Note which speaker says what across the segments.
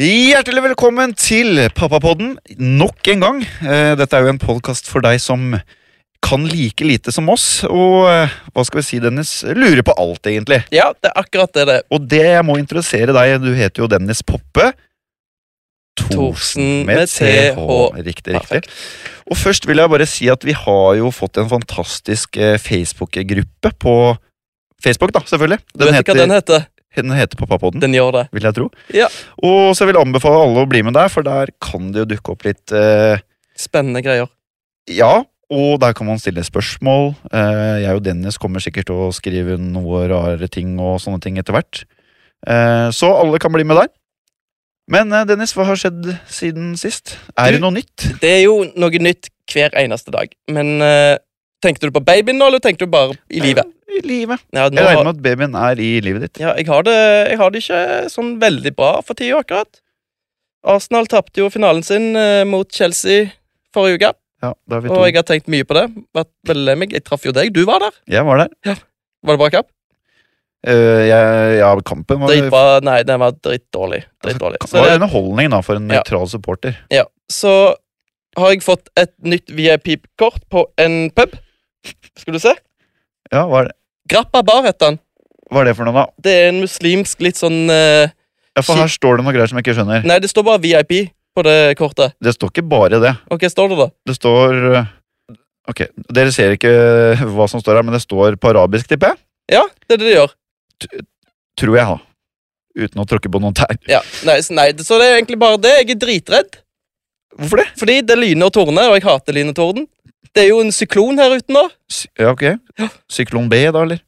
Speaker 1: Hjertelig velkommen til Pappapodden nok en gang. Eh, Dette er jo en podkast for deg som kan like lite som oss, og eh, hva skal vi si, Dennis, lurer på alt, egentlig.
Speaker 2: Ja, det er akkurat det det er.
Speaker 1: Og det jeg må interessere deg, du heter jo Dennis Poppe.
Speaker 2: Thorsen med TH.
Speaker 1: Riktig, riktig. Og først vil jeg bare si at vi har jo fått en fantastisk eh, Facebook-gruppe på Facebook, da, selvfølgelig.
Speaker 2: Du vet ikke hva den heter?
Speaker 1: den heter Mm. Pappapodden.
Speaker 2: Den gjør det.
Speaker 1: vil jeg tro.
Speaker 2: Ja.
Speaker 1: Og så vil jeg anbefale alle å bli med der, for der kan det jo dukke opp litt eh,
Speaker 2: Spennende greier.
Speaker 1: Ja, og der kan man stille spørsmål. Eh, jeg og Dennis kommer sikkert til å skrive noe rare ting og sånne ting etter hvert. Eh, så alle kan bli med der. Men eh, Dennis, hva har skjedd siden sist? Er
Speaker 2: Du-
Speaker 1: det noe nytt?
Speaker 2: Det er jo noe nytt hver eneste dag. Men eh, tenkte du på babyen nå, eller tenkte du bare i livet?
Speaker 1: Eh, I livet.
Speaker 2: Ja, nå
Speaker 1: Jeg regner
Speaker 2: har,
Speaker 1: med at babyen er i livet ditt.
Speaker 2: ja, jeg, har det, jeg har det ikke sånn veldig bra for tida, akkurat. Arsenal tapte jo finalen sin eh, mot Chelsea forrige uke,
Speaker 1: Ja, da er vi
Speaker 2: og
Speaker 1: to.
Speaker 2: jeg har tenkt mye på det. Vært veldig lei meg. Jeg traff jo deg. Du var der.
Speaker 1: Jeg var der.
Speaker 2: Var det bra kamp?
Speaker 1: Eh, jeg, ja, kampen var
Speaker 2: Dritbra. Nei, den var drittdårlig. Drittdårlig.
Speaker 1: Det var underholdning da, for en
Speaker 2: Ja.
Speaker 1: nøytral supporter.
Speaker 2: Ja, så har jeg fått et nytt VIP-kort på en pub. Skal du se?
Speaker 1: Ja, hva er, det,
Speaker 2: Grappa Bar heter den.
Speaker 1: hva er det for noe, da?
Speaker 2: Det er en muslimsk litt sånn eh,
Speaker 1: Ja, for her står det noe greier som jeg ikke skjønner.
Speaker 2: Nei, det står bare VIP på det kortet.
Speaker 1: Det står ikke bare det.
Speaker 2: Og hva står det, da?
Speaker 1: Det står øh, Ok, dere ser ikke eh, hva som står her, men det står på arabisk, tipper jeg.
Speaker 2: Ja, det er det de gjør.
Speaker 1: Tror jeg, da. Uten å tråkke på noen tær.
Speaker 2: Ja, nei, så, nei, det- så det er egentlig bare det. Jeg er dritredd.
Speaker 1: Hvorfor det?
Speaker 2: Fordi det er lyner og tordner, og jeg hater lyn og torden. Det er jo en syklon her ute nå.
Speaker 1: Sy ja, ok. Syklon B, da, eller?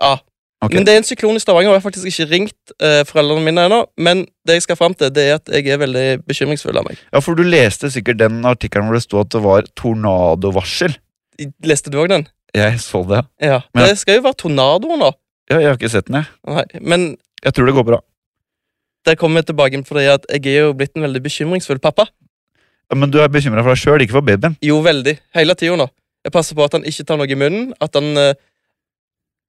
Speaker 2: Ja.
Speaker 1: Ok.
Speaker 2: Men det er en syklon i Stavanger, og jeg har faktisk ikke ringt eh, foreldrene mine ennå. Men det jeg skal fram til, det er at jeg er veldig bekymringsfull av meg.
Speaker 1: Ja, for du leste sikkert den artikkelen hvor det sto at det var tornadovarsel.
Speaker 2: Leste du òg den?
Speaker 1: Jeg så det.
Speaker 2: Ja,
Speaker 1: Men-
Speaker 2: Det skal jo være tornadoer nå.
Speaker 1: Ja, jeg har ikke sett den, jeg.
Speaker 2: Nei, men
Speaker 1: Jeg tror det går bra.
Speaker 2: der kommer vi tilbake inn fordi at jeg er jo blitt en veldig bekymringsfull pappa.
Speaker 1: Ja, men du er bekymra for deg sjøl, ikke for babyen.
Speaker 2: Jo, veldig. Hele tida nå. Jeg passer på at han ikke tar noe i munnen. At han eh,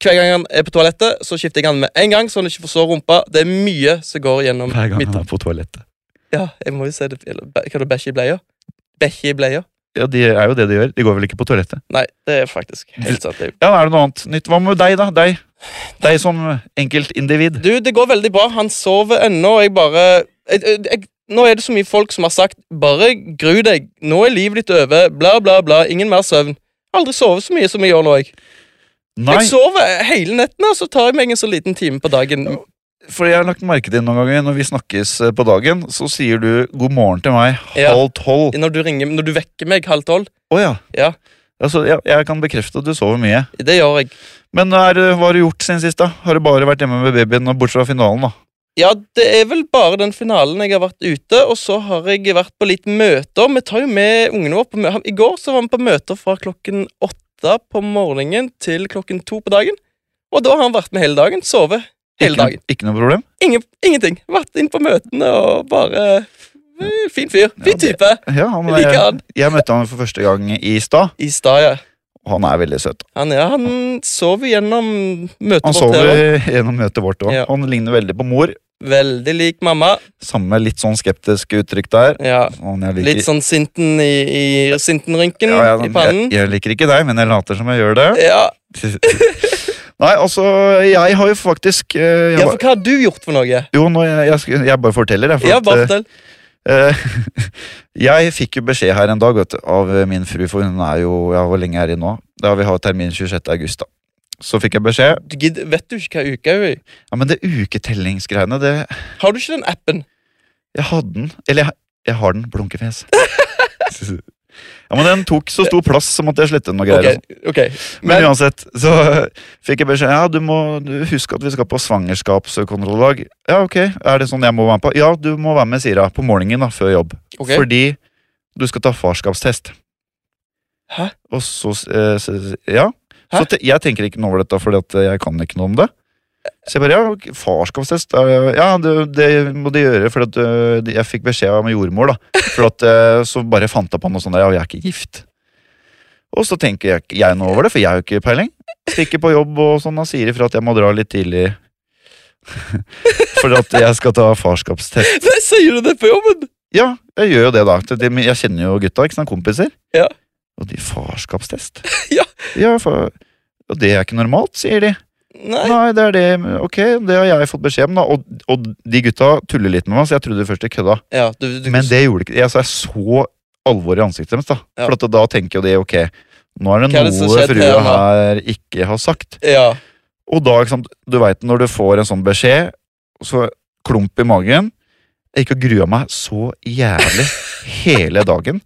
Speaker 2: Hver gang han er på toalettet, så skifter jeg han med en gang, så han ikke får så rumpa. Det er mye som går gjennom
Speaker 1: Hver gang
Speaker 2: mitt
Speaker 1: han er på toalettet.
Speaker 2: Ja, jeg må jo si det eller, bæ- Hva er det bæsje i bleia? Bæsje i bleia?
Speaker 1: Ja, de er jo det de gjør. De går vel ikke på toalettet.
Speaker 2: Nei, det er faktisk helt sant. det.
Speaker 1: Ja, er det noe annet nytt? Hva med deg, da? Deg, deg som enkeltindivid.
Speaker 2: Du, det går veldig bra. Han sover ennå, og jeg bare jeg, jeg, jeg, Nå er det så mye folk som har sagt 'bare gru deg, nå er livet ditt over', bla, bla, bla, ingen mer søvn. Jeg har Aldri sovet så mye som jeg gjør nå. Jeg, jeg
Speaker 1: Nei,
Speaker 2: sover hele netten, og så tar jeg meg en så liten time på dagen.
Speaker 1: for jeg har lagt merke til noen ganger når vi snakkes eh, på dagen, så sier du god morgen til meg
Speaker 2: Ja.
Speaker 1: halv tolv.
Speaker 2: Når du ringer, når du vekker meg halv tolv.
Speaker 1: Å ja.
Speaker 2: Ja.
Speaker 1: Altså, jeg, jeg kan bekrefte at du sover mye.
Speaker 2: Det gjør jeg.
Speaker 1: Men er, det- hva har du gjort siden sist? da? Har du bare vært hjemme med babyen, og bortsett fra finalen? da?
Speaker 2: Ja, det er vel bare den finalen jeg har vært ute, og så har jeg vært på litt møter. Vi tar jo med ungene våre på møter. I går så var vi på møter fra klokken åtte på morgenen til klokken to på dagen. Og da har han vært med hele dagen. Sovet
Speaker 1: Ikke,
Speaker 2: hele
Speaker 1: noe-
Speaker 2: dagen.
Speaker 1: ikke noe problem?
Speaker 2: Ingen, ingenting. Vært inn på møtene og bare eh, Fin fyr.
Speaker 1: Ja,
Speaker 2: Fin
Speaker 1: det-
Speaker 2: type.
Speaker 1: Ja, han,
Speaker 2: Jeg liker
Speaker 1: jeg,
Speaker 2: han.
Speaker 1: jeg møtte han for første gang i stad,
Speaker 2: I stad, ja.
Speaker 1: og han er veldig søt.
Speaker 2: Han, ja, han sover gjennom møtet
Speaker 1: Han
Speaker 2: vårt her også.
Speaker 1: sover gjennom møtet vårt òg.
Speaker 2: Ja.
Speaker 1: Han ligner veldig på mor.
Speaker 2: Veldig lik mamma.
Speaker 1: Samme litt sånn skeptiske uttrykk der.
Speaker 2: Ja.
Speaker 1: Han jeg liker-
Speaker 2: Litt sånn sinten i, i sintenrynken
Speaker 1: ja, sånn- ja,
Speaker 2: i pannen.
Speaker 1: Jeg, jeg liker ikke deg, men jeg later som jeg gjør det.
Speaker 2: Ja.
Speaker 1: Nei, altså, jeg har jo faktisk eh, jeg
Speaker 2: ja,
Speaker 1: ba-
Speaker 2: for hva har du gjort for noe?
Speaker 1: Jo, nå, jeg, jeg, sk- jeg bare forteller, jeg. For
Speaker 2: Ja,
Speaker 1: at,
Speaker 2: Bartel.
Speaker 1: eh, jeg fikk jo beskjed her en dag vet du, av eh, min fru, for hun er jo ja, Hvor lenge er det nå? Da Vi har termin 26. august, da. Så fikk jeg beskjed.
Speaker 2: Du gidder, vet du ikke hva uka er i?
Speaker 1: Ja, men det uketellingsgreiene, det
Speaker 2: Har du ikke den appen?
Speaker 1: Jeg hadde den. Eller, jeg, jeg har den, blunkefjes. ja, men den tok så stor plass, så måtte jeg slette den og greier. og
Speaker 2: Ok,
Speaker 1: sånn.
Speaker 2: ok.
Speaker 1: Men,
Speaker 2: Men
Speaker 1: uansett, så fikk jeg beskjed Ja, du må du- huske at vi skal på svangerskapskontrolledag. Ja, ok, er det sånn jeg må være med på? Ja, du må være med, sier hun, på morgenen da, før jobb.
Speaker 2: ok.
Speaker 1: Fordi du skal ta farskapstest.
Speaker 2: Hæ?
Speaker 1: Og så eh, s- s- Ja. Så
Speaker 2: Hæ?
Speaker 1: te, jeg tenker ikke noe over dette, fordi at jeg kan ikke noe om det. Så jeg bare, ja, ok, farskapstest eh, Ja, det, det må de gjøre, for at, eh, de- jeg fikk beskjed av jordmor, da. For at, eh, så bare fant jeg på noe sånt der, ja, jeg er ikke gift. Og så tenker jeg ikke jeg noe over det, for jeg har jo ikke peiling. Stikker på jobb og sånn, og sier ifra at jeg må dra litt tidlig. For at jeg skal ta farskapstest.
Speaker 2: Nei, sier du det på jobben?
Speaker 1: Ja, jeg gjør jo det, da. Det- det- men Jeg kjenner jo gutta, ikke sant, kompiser.
Speaker 2: Ja.
Speaker 1: Og de farskapstest.
Speaker 2: Ja.
Speaker 1: ja for, og det er ikke normalt, sier de.
Speaker 2: Nei.
Speaker 1: Nei, det er det. Ok, det har jeg fått beskjed om, da. Og, og de gutta tuller litt med meg, så jeg trodde først de kødda.
Speaker 2: Ja, du, du,
Speaker 1: Men det gjorde ikke jeg, så jeg så alvor i ansiktet deres. Da
Speaker 2: Ja.
Speaker 1: For at da tenker jo de ok, nå er det
Speaker 2: Hva er det som
Speaker 1: noe
Speaker 2: skjedde her
Speaker 1: frua
Speaker 2: nå?
Speaker 1: her ikke har sagt.
Speaker 2: Ja.
Speaker 1: Og da, ikke sant, du veit når du får en sånn beskjed, så klump i magen. Jeg gikk og grua meg så jævlig hele dagen.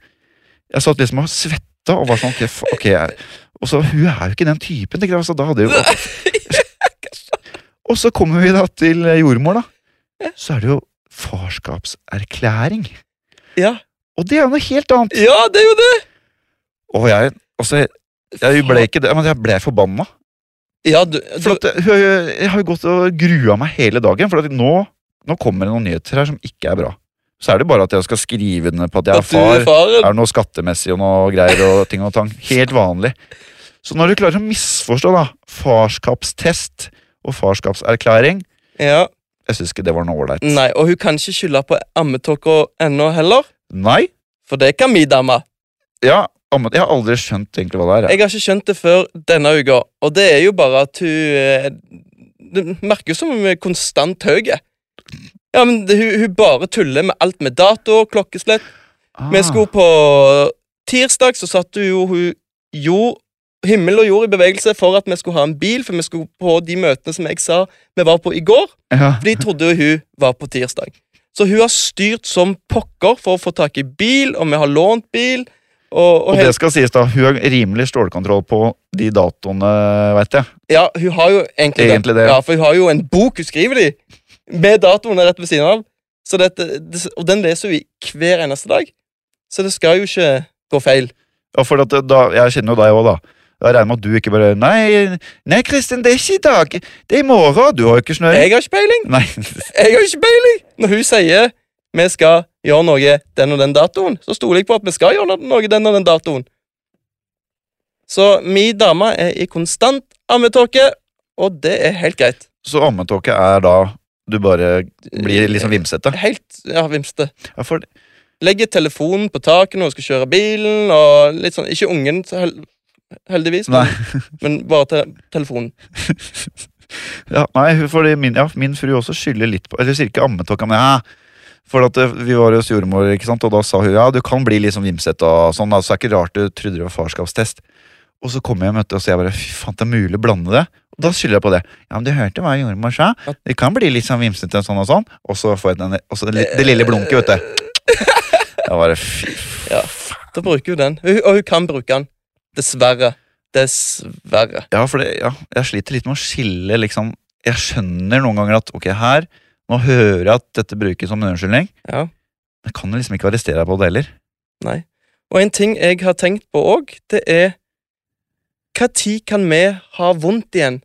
Speaker 1: Jeg satt liksom og svetta og var sånn ok, fa- ok jeg, Og så hun er jo ikke den typen, tenkte jeg. Så da hadde jeg jo Og så kommer vi da til jordmor, da. Så er det jo farskapserklæring.
Speaker 2: Ja.
Speaker 1: Og det er jo noe helt annet.
Speaker 2: ja, det er jo det!
Speaker 1: Og jeg, altså, jeg ble ikke det, men jeg ble forbanna.
Speaker 2: Ja, du, du,
Speaker 1: For at, eh, jeg, jeg har jo gått og grua meg hele dagen, for at nå, nå kommer det noen nyheter her som ikke er bra. Så er det bare at jeg skal skrive ned på at jeg
Speaker 2: at
Speaker 1: er
Speaker 2: du
Speaker 1: far.
Speaker 2: er faren.
Speaker 1: Er det noe skattemessig og noe greier og ting og tang. Helt vanlig. Så når du klarer å misforstå da, farskapstest og farskapserklæring
Speaker 2: Ja.
Speaker 1: Jeg syns ikke det var noe ålreit.
Speaker 2: Nei, og hun kan ikke skylde på ammetåka ennå heller,
Speaker 1: Nei?
Speaker 2: for det kan vi damme.
Speaker 1: Ja, amma- jeg har aldri skjønt egentlig hva det er. jeg.
Speaker 2: Jeg har ikke skjønt det før denne uka, og det er jo bare at hun eh, Det merkes som hun er konstant høy. Ja, men det, hun, hun bare tuller med alt med dato og klokkeslett.
Speaker 1: Ah.
Speaker 2: Vi skulle på tirsdag, så satte hun jo hun jord, himmel og jord i bevegelse for at vi skulle ha en bil, for vi skulle på de møtene som jeg sa vi var på i går.
Speaker 1: Ah, ja.
Speaker 2: For de trodde jo hun var på tirsdag. Så hun har styrt som pokker for å få tak i bil, og vi har lånt bil. Og, og,
Speaker 1: Og
Speaker 2: hele-
Speaker 1: det skal sies, da. Hun har rimelig stålkontroll på de datoene, veit jeg.
Speaker 2: Ja, hun har jo egentlig,
Speaker 1: Egentlig det, ja.
Speaker 2: Ja. for hun har jo en bok hun skriver i, med datoene rett ved siden av. Så dette, det, og den leser hun i hver eneste dag. Så det skal jo ikke gå feil.
Speaker 1: Ja, for at eh, da, Jeg kjenner jo deg òg, da. Jeg regner med at du ikke bare Nei, nei, Kristin, det er ikke i dag. Det er i morgen. Du har jo ikke snøring.
Speaker 2: Jeg har ikke peiling!
Speaker 1: Nei,
Speaker 2: Jeg har ikke peiling! Når hun sier vi skal gjøre noe den og den datoen, så stoler jeg på at vi skal gjøre no- noe den og den datoen. Så mi dame er i konstant ammetåke, og det er helt greit.
Speaker 1: Så ammetåke er da du bare blir litt sånn vimsete?
Speaker 2: Helt ja, vimsete.
Speaker 1: Ja, for
Speaker 2: legger telefonen på taket når hun skal kjøre bilen. og litt sånn, Ikke ungen, så hel heldigvis, men,
Speaker 1: Nei.
Speaker 2: men bare te telefonen.
Speaker 1: Ja, nei, fordi min, ja, min fru også skylder litt på Eller sier ikke ammetåka, men ja. For at eh, Vi var hos jordmor, ikke sant? og da sa hun ja, du kan bli litt sånn vimsete. og sånn, da, så det er ikke rart du trodde det var farskapstest. Og så kom jeg hjem, vet du, og så jeg bare fy faen, det er mulig å blande det. Og da skylder jeg på det. Ja, men du hørte hva jordmor sa. Det kan bli litt sånn vimsete sånn og sånn. Og så får jeg den, og så det, li- det lille blunket, vet du. Jeg bare fy f-
Speaker 2: Ja, Da bruker hun den. Hun- Og hun kan bruke den. Dessverre. Dessverre.
Speaker 1: Ja, for det, ja, jeg sliter litt med å skille, liksom. Jeg skjønner noen ganger at ok, her Nå hører jeg at dette brukes som en unnskyldning.
Speaker 2: Ja,
Speaker 1: Jeg kan jo liksom ikke arrestere deg på det heller.
Speaker 2: nei. Og en ting jeg har tenkt på òg, det er Når kan vi ha vondt igjen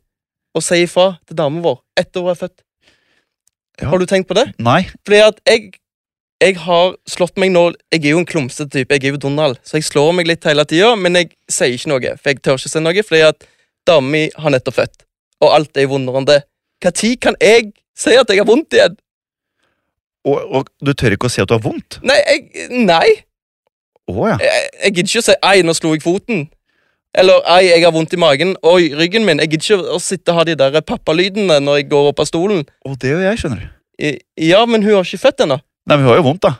Speaker 2: og si ifra til dama vår etter hun er født?
Speaker 1: Ja.
Speaker 2: Har du tenkt på det?
Speaker 1: Nei.
Speaker 2: Fordi at jeg Jeg har slått meg nå Jeg er jo en klumsete type, jeg er jo Donald, så jeg slår meg litt hele tida, men jeg sier ikke noe, for jeg tør ikke si noe, fordi at dama mi har nettopp født, og alt er vondere enn det. Når kan jeg si at jeg har vondt igjen?
Speaker 1: Og, og du tør ikke å si at du har vondt?
Speaker 2: Nei, jeg Nei!
Speaker 1: Å ja.
Speaker 2: Jeg, jeg gidder ikke å si 'ei, nå slo jeg foten'. Eller 'ei, jeg har vondt i magen'. 'Oi, ryggen min'. Jeg gidder ikke å sitte og ha de der pappalydene når jeg går opp av stolen.
Speaker 1: Og det gjør jeg, skjønner du.
Speaker 2: I, ja, men hun har ikke født ennå.
Speaker 1: Nei, men hun har jo vondt, da.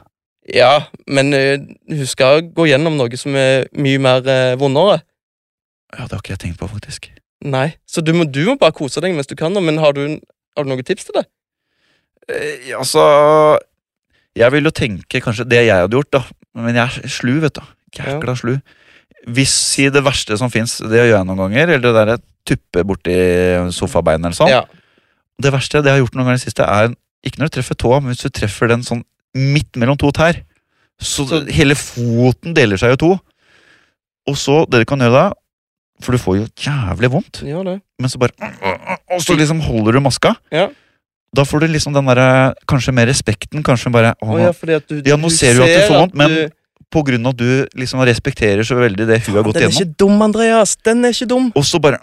Speaker 2: Ja, men eh, hun skal gå gjennom noe som er mye mer eh, vondere.
Speaker 1: Ja, Det har ikke jeg tenkt på, faktisk.
Speaker 2: Nei, så du må, du må bare kose deg mens du kan, da, men har du, har du noen tips til det?
Speaker 1: Eh, ja, altså Jeg vil jo tenke kanskje det jeg hadde gjort, da. Men jeg er slu, vet du. Jækla slu. Hvis si det verste som fins, det gjør jeg noen ganger, eller det derre tuppe borti sofabeinet eller sånn.
Speaker 2: Ja.
Speaker 1: Det verste det jeg har gjort noen ganger i det siste, er ikke når du treffer tåa, men hvis du treffer den sånn midt mellom to tær. Så,
Speaker 2: Så-
Speaker 1: hele foten deler seg i to. Og så, det du kan gjøre da For du får jo jævlig vondt,
Speaker 2: Gjør det.
Speaker 1: men så bare Og så liksom holder du maska.
Speaker 2: Ja.
Speaker 1: Da får du liksom den derre Kanskje mer respekten, kanskje bare å,
Speaker 2: Å ja, fordi at du,
Speaker 1: Ja, nå ser du at du får vondt, men
Speaker 2: du-
Speaker 1: På grunn av at du liksom respekterer så veldig det hun har gått
Speaker 2: Den er
Speaker 1: gjennom.
Speaker 2: ikke dum, Andreas! Den er ikke dum!
Speaker 1: Og så bare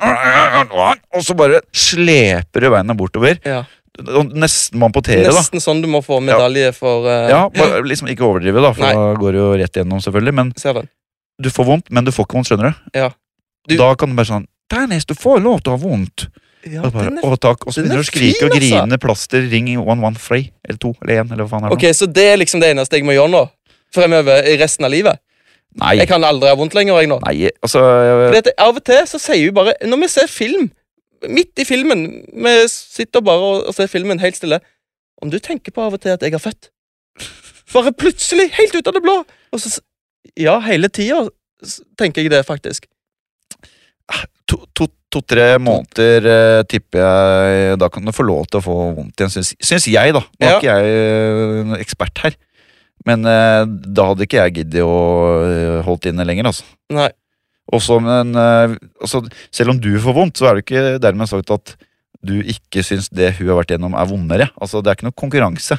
Speaker 1: Og så bare sleper du beina bortover.
Speaker 2: Ja.
Speaker 1: Nesten må amputere, da.
Speaker 2: Nesten sånn du må få medalje for eh,
Speaker 1: Ja, bare liksom Ikke overdrive, da, for
Speaker 2: Nei.
Speaker 1: da går det jo rett igjennom, selvfølgelig. Men
Speaker 2: Ser den.
Speaker 1: du får vondt, men du får ikke vondt, skjønner du?
Speaker 2: Ja. Du-
Speaker 1: Da kan du bare sånn Dennis, du får lov til å ha vondt!
Speaker 2: Ja,
Speaker 1: Og bare,
Speaker 2: den er-
Speaker 1: å takk, og så
Speaker 2: den er
Speaker 1: begynner du å skrike
Speaker 2: fin,
Speaker 1: og
Speaker 2: altså.
Speaker 1: grine. Plaster, ring 113, eller 2, eller 1, eller hva faen er det?
Speaker 2: Ok, Så det er liksom det eneste jeg må gjøre nå? Fremover i resten av livet?
Speaker 1: Nei,
Speaker 2: Jeg kan aldri ha vondt lenger, jeg nå.
Speaker 1: nei, altså
Speaker 2: Fordi at Av og til så sier vi bare Når vi ser film, midt i filmen Vi sitter bare og, og ser filmen helt stille. Om du tenker på av og til at jeg har født? Bare plutselig, helt ut av det blå! Og så, s- ja, hele tida s- tenker jeg det, faktisk.
Speaker 1: To-tre to, to, tre måneder eh, tipper jeg Da kan du få lov til å få vondt igjen, syns, syns jeg, da. Nå er
Speaker 2: Ja.
Speaker 1: ikke jeg eh, noen ekspert her. Men eh, da hadde ikke jeg giddet å eh, holdt inne lenger, altså.
Speaker 2: Nei.
Speaker 1: Også, men, eh, altså. Selv om du får vondt, så er det ikke dermed sagt at du ikke syns det hun har vært gjennom, er vondere. Altså, Det er ikke noe konkurranse.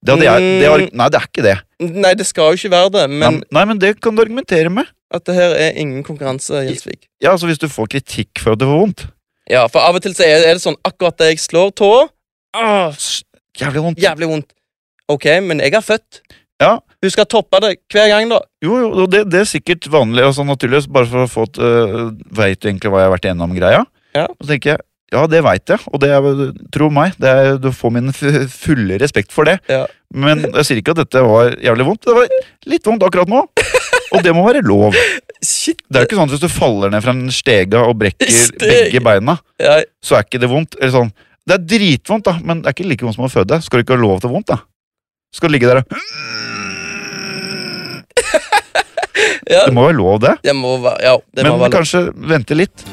Speaker 1: Det hadde jeg, det har, nei, det er ikke det.
Speaker 2: Nei, det skal jo ikke være det,
Speaker 1: Nei,
Speaker 2: men
Speaker 1: nei, men det kan du argumentere med.
Speaker 2: at det her er ingen konkurranse, Gjelsvik.
Speaker 1: Ja, altså Hvis du får kritikk for at du får vondt.
Speaker 2: Ja, for av og til så er, er det sånn akkurat da jeg slår tåa ah,
Speaker 1: s- Jævlig vondt.
Speaker 2: Jævlig vondt. Ok, men jeg har født.
Speaker 1: Ja.
Speaker 2: Du skal toppe det hver gang, da.
Speaker 1: Jo, jo, og det, det er sikkert vanlig, altså naturligvis, bare for å få et øh, Veit du egentlig hva jeg har vært igjennom, greia?
Speaker 2: Ja.
Speaker 1: Og så tenker jeg, ja, det veit jeg, og det er, tro meg, det er, du får min fu- fulle respekt for det.
Speaker 2: Ja.
Speaker 1: Men jeg sier ikke at dette var jævlig vondt, det var litt vondt akkurat nå. Og det må være lov.
Speaker 2: Shit.
Speaker 1: Det er jo ikke sånn at hvis du faller ned fra en stege og brekker
Speaker 2: Steg.
Speaker 1: begge beina,
Speaker 2: Ja,
Speaker 1: så er ikke det vondt. Eller sånn, det er dritvondt, da, men det er ikke like vondt som å føde. Skal du ikke ha lov til vondt, da? Skal du ligge der og
Speaker 2: ja,
Speaker 1: Det må være lov, det.
Speaker 2: det må være Ja, det må
Speaker 1: Men
Speaker 2: være
Speaker 1: kanskje vente litt.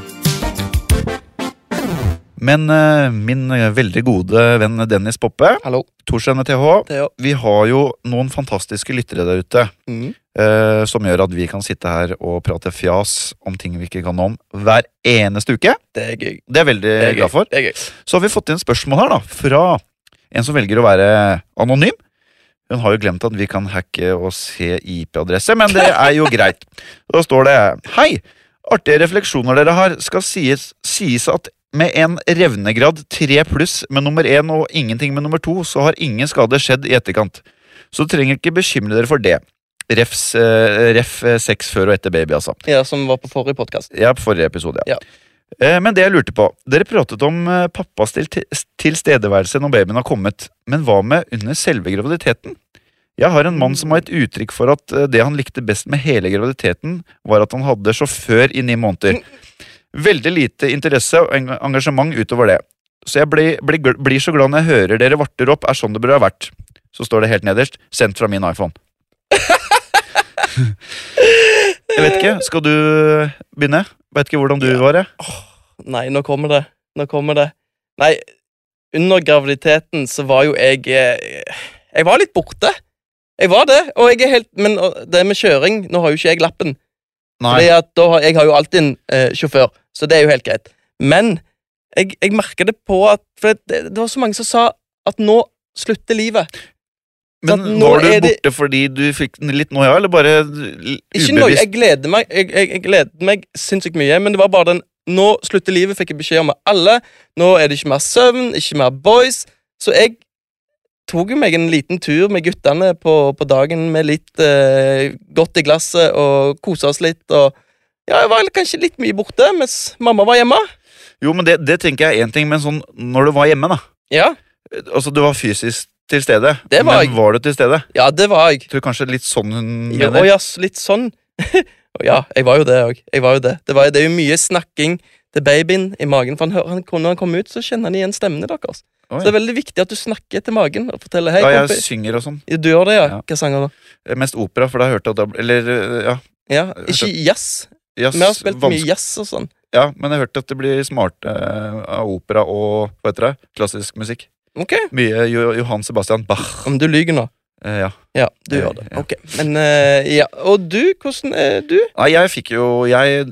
Speaker 1: Men eh, min eh, veldig gode venn Dennis Poppe,
Speaker 2: Hallo.
Speaker 1: Torsen med TH,
Speaker 2: Det er jo
Speaker 1: vi har jo noen fantastiske lyttere der ute
Speaker 2: mm.
Speaker 1: eh, som gjør at vi kan sitte her og prate fjas om ting vi ikke kan om hver eneste uke.
Speaker 2: Det er gøy.
Speaker 1: Det er jeg veldig
Speaker 2: Det er gøy.
Speaker 1: glad for.
Speaker 2: Det er gøy.
Speaker 1: Så har vi fått inn spørsmål her da, fra en som velger å være anonym. Hun har jo glemt at vi kan hacke og se IP-adresse, men det er jo greit. Da står det Hei! Artige refleksjoner dere har, skal sies, sies at med en revnegrad 3 pluss med nummer 1 og ingenting med nummer 2, så har ingen skade skjedd i etterkant. Så trenger ikke bekymre dere for det. Refs, eh, ref eh, sex før og etter baby, altså.
Speaker 2: Ja, som var på forrige podkast.
Speaker 1: Ja, forrige episode, ja. Eh, Men det jeg lurte på, dere pratet om eh, pappas til tilstedeværelse når babyen har kommet, men hva med under selve graviditeten? Jeg har en mann som har et uttrykk for at eh, det han likte best med hele graviditeten, var at han hadde sjåfør i ni måneder. Veldig lite interesse og eng- engasjement utover det. Så jeg blir, blir, gl- blir så glad når jeg hører dere varter opp, er sånn det burde ha vært. Så står det helt nederst, sendt fra min iPhone. Jeg vet ikke, skal du begynne? Vet ikke hvordan du var, jeg.
Speaker 2: Nei, nå kommer det. Nå kommer det. Nei, under graviditeten så var jo jeg eh, Jeg var litt borte. Jeg var det, og jeg er helt Men og det med kjøring Nå har jo ikke jeg lappen. Fordi at da har, Jeg har jo alltid en eh, sjåfør, så det er jo helt greit. Men jeg, jeg merka det på at For det, det var så mange som sa at nå slutter livet.
Speaker 1: Men
Speaker 2: at Sånn, nå
Speaker 1: var du
Speaker 2: er det-
Speaker 1: borte fordi du fikk den litt noia, eller bare l-
Speaker 2: Ikke noe,
Speaker 1: ubevisst?
Speaker 2: Jeg gleder meg jeg, jeg, jeg gleder meg sinnssykt mye, men det var bare den Nå slutter livet, fikk jeg beskjed om av alle. Nå er det ikke mer søvn, ikke mer boys. Så jeg tok jo meg en liten tur med guttene på, på dagen med litt eh, godt i glasset og kosa oss litt. og ja, Jeg var kanskje litt mye borte mens mamma var hjemme.
Speaker 1: Jo, men det, det tenker jeg er én ting, men sånn når du var hjemme, da.
Speaker 2: Ja,
Speaker 1: Altså, du var fysisk til stede,
Speaker 2: Det var jeg.
Speaker 1: men var du til stede?
Speaker 2: ja det var jeg.
Speaker 1: Jeg tror kanskje litt sånn hun
Speaker 2: Ja,
Speaker 1: mener.
Speaker 2: og ja, s- litt sånn. Og ja, jeg var jo det òg. Jeg var jo det. Det, var, det er jo mye snakking til babyen i magen. For han, hører- han, når han kommer ut, så kjenner han igjen stemmene deres.
Speaker 1: Å,
Speaker 2: altså. Så
Speaker 1: ja.
Speaker 2: det er veldig viktig at du snakker til magen og forteller hei.
Speaker 1: ja, jeg
Speaker 2: kompis.
Speaker 1: synger og sånn.
Speaker 2: Ja, Du gjør det, ja?
Speaker 1: Ja.
Speaker 2: Hva sanger da?
Speaker 1: Eh, Mest opera, for da hørte jeg at da ble- Eller, eh, ja.
Speaker 2: Ja, Ikke jazz.
Speaker 1: jazz,
Speaker 2: Vi har spilt mye
Speaker 1: vanskelig-
Speaker 2: jazz og sånn.
Speaker 1: Ja, men jeg hørte at det blir smart eh, av opera og hva heter det? klassisk musikk.
Speaker 2: Ok,
Speaker 1: Mye Jo- Johan Sebastian Bach.
Speaker 2: Om du lyver nå.
Speaker 1: Eh, ja.
Speaker 2: Ja, du
Speaker 1: Eh,
Speaker 2: gjør det.
Speaker 1: ja.
Speaker 2: Ok, Men eh, ja, Og du, hvordan er du?
Speaker 1: Nei, jeg fikk jo Jeg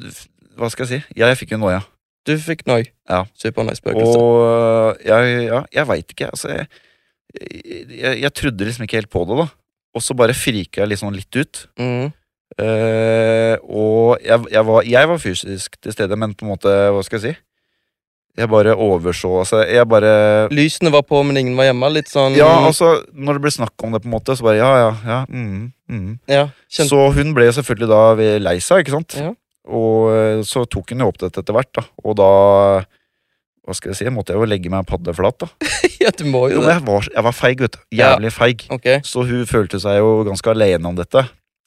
Speaker 1: Hva skal jeg si? Jeg fikk jo noia.
Speaker 2: Du fikk noi.
Speaker 1: Ja.
Speaker 2: Supernoi-spøkelse.
Speaker 1: Og eh, jeg, ja, jeg veit ikke. Altså, jeg, jeg, jeg trodde liksom ikke helt på det, da. Og så bare frika jeg liksom litt ut.
Speaker 2: Mm.
Speaker 1: Eh, og jeg, jeg, var, jeg var fysisk til stede, men på en måte Hva skal jeg si? Jeg bare overså altså, Jeg bare
Speaker 2: Lysene var på, men ingen var hjemme. Litt sånn
Speaker 1: Ja, altså, når det ble snakk om det, på en måte, så bare ja, ja, ja. Mm, mm.
Speaker 2: ja, kjente-
Speaker 1: Så hun ble jo selvfølgelig da ved- lei seg, ikke sant?
Speaker 2: Ja.
Speaker 1: Og eh, så tok hun jo opp dette etter hvert, da. Og da Hva skal jeg si? Måtte jeg jo legge meg paddeflat, da.
Speaker 2: ja, du må
Speaker 1: Jo,
Speaker 2: jo
Speaker 1: men
Speaker 2: det.
Speaker 1: jeg var, jeg var feig, vet du.
Speaker 2: Ja.
Speaker 1: Jævlig feig.
Speaker 2: Ok,
Speaker 1: Så hun følte seg jo ganske alene om dette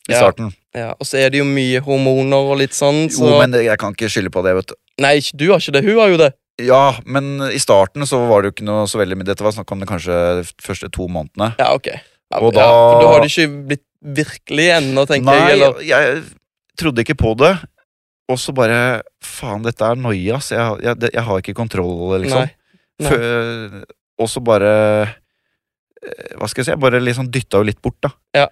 Speaker 1: i
Speaker 2: Ja.
Speaker 1: starten.
Speaker 2: ja, Og så er det jo mye hormoner og litt sånn, så
Speaker 1: Jo, men jeg kan ikke skylde på det, vet du.
Speaker 2: Nei, ikke du har ikke det. Hun har jo det.
Speaker 1: Ja, men i starten så var det jo ikke noe så veldig med Dette var snakk om det kanskje de første to månedene.
Speaker 2: Ja, ok. Ja,
Speaker 1: Og
Speaker 2: ja, for
Speaker 1: da-
Speaker 2: da har det ikke blitt virkelig ennå, tenker
Speaker 1: Nei,
Speaker 2: jeg. Eller?
Speaker 1: jeg trodde ikke på det. Og så bare Faen, dette er noia, ass. Jeg, jeg, det- jeg har ikke kontroll, liksom.
Speaker 2: Nei. Nei.
Speaker 1: Fø- Og så bare eh, Hva skal jeg si? Jeg bare liksom dytta jo litt bort, da.
Speaker 2: Ja.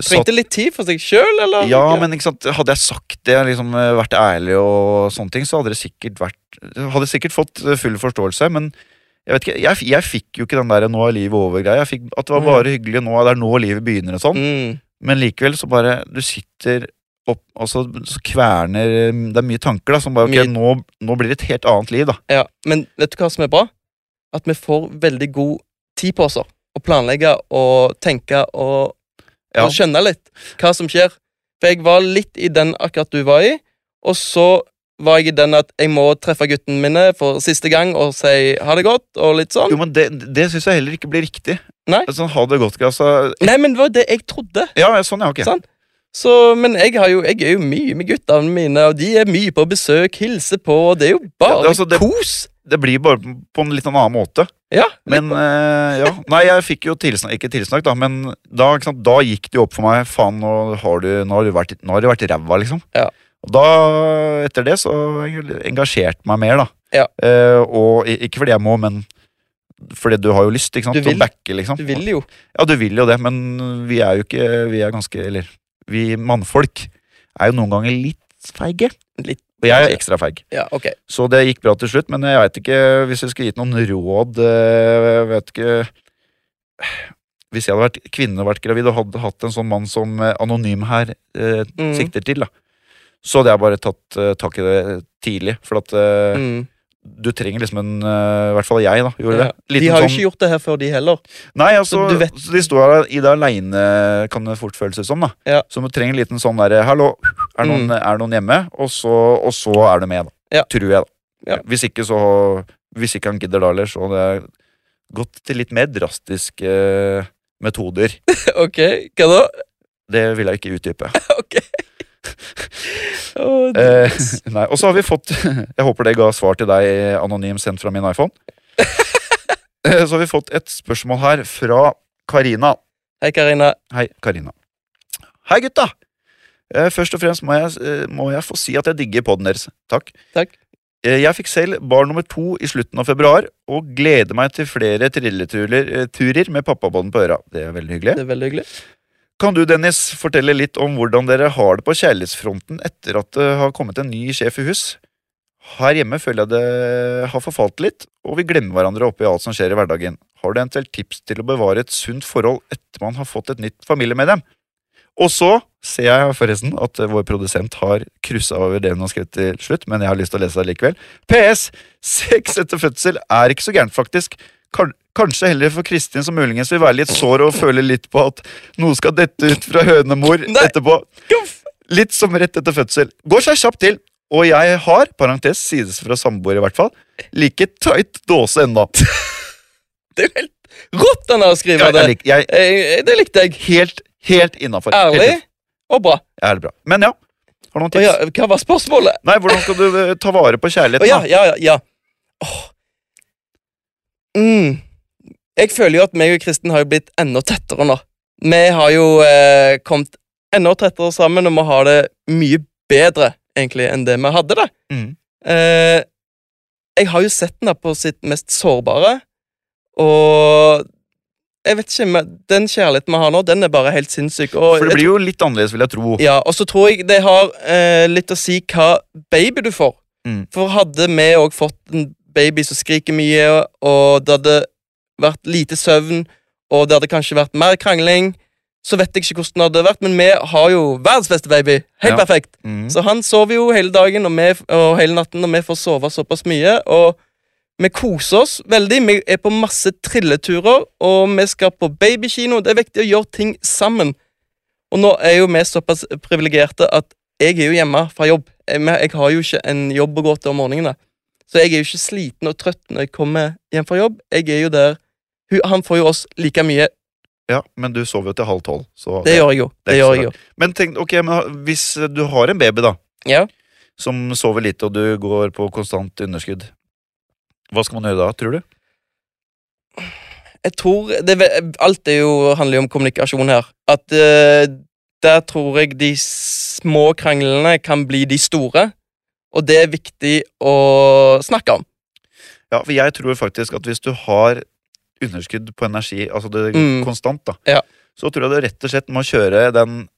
Speaker 1: Så,
Speaker 2: Trengte litt tid for seg sjøl, eller?
Speaker 1: ja, men ikke sant? hadde jeg sagt det, liksom eh, vært ærlig og sånne ting, så hadde det sikkert vært Hadde jeg sikkert fått eh, full forståelse, men jeg vet ikke, jeg, f- jeg fikk jo ikke den der 'nå er livet over'-greia. Jeg fikk At det var
Speaker 2: Nei.
Speaker 1: bare hyggelig nå, det er nå livet begynner og sånn.
Speaker 2: mm,
Speaker 1: Men likevel så bare Du sitter opp, og så, så kverner eh, Det er mye tanker, da, som bare
Speaker 2: Mye-
Speaker 1: Ok, nå, nå blir det et helt annet liv, da.
Speaker 2: ja. Men vet du hva som er bra? At vi får veldig god tid på oss å planlegge og tenke og,
Speaker 1: Ja.
Speaker 2: og skjønne litt hva som skjer. For jeg var litt i den akkurat du var i, og så var jeg i den at jeg må treffe guttene mine for siste gang og si ha det godt og litt sånn.
Speaker 1: Jo, men Det, det syns jeg heller ikke blir riktig.
Speaker 2: Nei.
Speaker 1: Sånn, ha det godt, greia. Altså,
Speaker 2: Nei, men det var det jeg trodde.
Speaker 1: ja, ja, sånn, ja, ok.
Speaker 2: Sant? Så, men jeg, har jo, jeg er jo mye med guttene mine, og de er mye på besøk, hilser på, og det er jo bare
Speaker 1: Ja, altså, det-
Speaker 2: kos.
Speaker 1: Det blir bare på en litt annen måte.
Speaker 2: Ja,
Speaker 1: Men eh, ja. Nei, jeg fikk jo tilsnakk, ikke tilsnakk, da, men da, ikke sant, da gikk det jo opp for meg. Faen, nå har du, nå har du vært, nå har du vært ræva, liksom.
Speaker 2: Ja.
Speaker 1: Og da, etter det, så engasjerte meg mer, da.
Speaker 2: Ja.
Speaker 1: Eh, og i- ikke fordi jeg må, men fordi du har jo lyst, ikke sant?
Speaker 2: Du
Speaker 1: til
Speaker 2: vil.
Speaker 1: Å backe, liksom.
Speaker 2: du vil jo.
Speaker 1: Ja, du vil jo det, men vi er jo ikke Vi er ganske Eller vi mannfolk er jo noen ganger litt feige.
Speaker 2: Litt.
Speaker 1: Og jeg er ekstra feig.
Speaker 2: Ja, ok.
Speaker 1: Så det gikk bra til slutt, men jeg veit ikke hvis jeg skulle gitt noen råd eh, Jeg vet ikke Hvis jeg hadde vært kvinne og vært gravid og hadde hatt en sånn mann som eh, anonym her eh,
Speaker 2: Mm.
Speaker 1: sikter til, da, så hadde jeg bare tatt eh, tak i det tidlig. For at eh,
Speaker 2: Mm.
Speaker 1: du trenger liksom en eh, I hvert fall jeg, da, gjorde
Speaker 2: Ja.
Speaker 1: det. sånn-
Speaker 2: De har jo ikke gjort det her før, de heller.
Speaker 1: Nei, altså,
Speaker 2: Så du vet-
Speaker 1: så de står her i det aleine, kan det fort føles som. da
Speaker 2: Ja.
Speaker 1: Så man trenger en liten sånn derre Hallo, er noen,
Speaker 2: Mm.
Speaker 1: er noen hjemme? Og så, og så er du med, da.
Speaker 2: Ja.
Speaker 1: Tror jeg, da.
Speaker 2: Ja.
Speaker 1: Hvis ikke så Hvis ikke han gidder da heller, så det er gått til litt mer drastiske eh, metoder.
Speaker 2: ok, hva da?
Speaker 1: Det vil jeg ikke utdype.
Speaker 2: Ok. Å, det-
Speaker 1: Eh, nei, og så har vi fått Jeg håper det ga svar til deg, anonym sendt fra min iPhone. Eh, så har vi fått et spørsmål her fra Karina.
Speaker 2: Hei, Karina.
Speaker 1: Hei, Karina. Hei, gutta! Eh, Først og fremst må jeg, eh, må jeg få si at jeg digger podden deres. Takk.
Speaker 2: Takk.
Speaker 1: Eh, Jeg fikk selv barn nummer to i slutten av februar, og gleder meg til flere trilleturer eh, turer med pappabånd på øra. Det er veldig hyggelig.
Speaker 2: Det er veldig hyggelig.
Speaker 1: Kan du, Dennis, fortelle litt om hvordan dere har det på kjærlighetsfronten etter at det har kommet en ny sjef i hus? Her hjemme føler jeg det har forfalt litt, og vi glemmer hverandre oppi alt som skjer i hverdagen. Har du eventuelt tips til å bevare et sunt forhold etter man har fått et nytt familiemedlem? Og så ser jeg forresten at eh, vår produsent har kryssa over det hun har skrevet til slutt, men jeg har lyst til å lese det likevel. PS. Sex etter fødsel er ikke så gærent, faktisk. Kan- Kanskje heller for Kristin, som muligens vil være litt sår og føle litt på at noe skal dette ut fra hønemor
Speaker 2: Nei.
Speaker 1: etterpå.
Speaker 2: Guff.
Speaker 1: Litt som rett etter fødsel. Går seg kjapt til. Og jeg har, parentes, sides fra samboer i hvert fall, like tight dåse ennå.
Speaker 2: Det er jo helt rått han har skrevet
Speaker 1: Jeg, jeg,
Speaker 2: det.
Speaker 1: lik- jeg
Speaker 2: Jeg, jeg, det likte jeg.
Speaker 1: Helt, helt innafor.
Speaker 2: Ærlig og bra.
Speaker 1: Ja, det er bra. Men ja, har du noen
Speaker 2: Å
Speaker 1: tips?
Speaker 2: ja, hva var spørsmålet?
Speaker 1: Nei, hvordan skal du eh, ta vare på
Speaker 2: Å
Speaker 1: kjærligheten?
Speaker 2: ja,
Speaker 1: da?
Speaker 2: ja, ja. ja. Åh. Mm. Jeg føler jo at meg og Kristen har jo blitt enda tettere nå. Vi har jo eh, kommet enda tettere sammen, og vi har det mye bedre egentlig enn det vi hadde det.
Speaker 1: Mm.
Speaker 2: Eh, jeg har jo sett henne på sitt mest sårbare, og jeg vet ikke, men den kjærligheten vi har nå, den er bare helt sinnssyk. Og
Speaker 1: For det
Speaker 2: jeg
Speaker 1: blir jo litt annerledes, vil jeg tro.
Speaker 2: ja, og så tror jeg det har eh, litt å si hva baby du får.
Speaker 1: Mm.
Speaker 2: For hadde vi òg fått en baby som skriker mye, og det hadde vært lite søvn, og det hadde kanskje vært mer krangling, så vet jeg ikke hvordan det hadde vært, men vi har jo verdens beste baby. Helt
Speaker 1: Ja.
Speaker 2: perfekt.
Speaker 1: Mm.
Speaker 2: Så han sover jo hele dagen og, vi, og hele natten, og vi får sove såpass mye. Og Vi koser oss veldig. Vi er på masse trilleturer, og vi skal på babykino. Det er viktig å gjøre ting sammen. Og nå er jo vi såpass privilegerte at jeg er jo hjemme fra jobb. Jeg, men jeg har jo ikke en jobb å gå til om morgenene. Så jeg er jo ikke sliten og trøtt når jeg kommer hjem fra jobb. Jeg er jo der. Hun- Han får jo oss like mye.
Speaker 1: Ja, men du sover jo til halv tolv. Så
Speaker 2: Det gjør jeg jo.
Speaker 1: det er
Speaker 2: Det
Speaker 1: ikke
Speaker 2: gjør
Speaker 1: så
Speaker 2: jeg jo.
Speaker 1: Men tenk, ok, men hvis du har en baby, da,
Speaker 2: Ja.
Speaker 1: som sover lite, og du går på konstant underskudd, hva skal man gjøre da, tror du?
Speaker 2: Jeg tror det, er ve- Alt er jo, handler jo om kommunikasjon her. At eh, der tror jeg de små kranglene kan bli de store. Og det er viktig å snakke om.
Speaker 1: Ja, for jeg tror faktisk at hvis du har underskudd på energi, altså det
Speaker 2: Mm.
Speaker 1: konstant, da,
Speaker 2: Ja.
Speaker 1: så tror jeg du rett og slett må kjøre den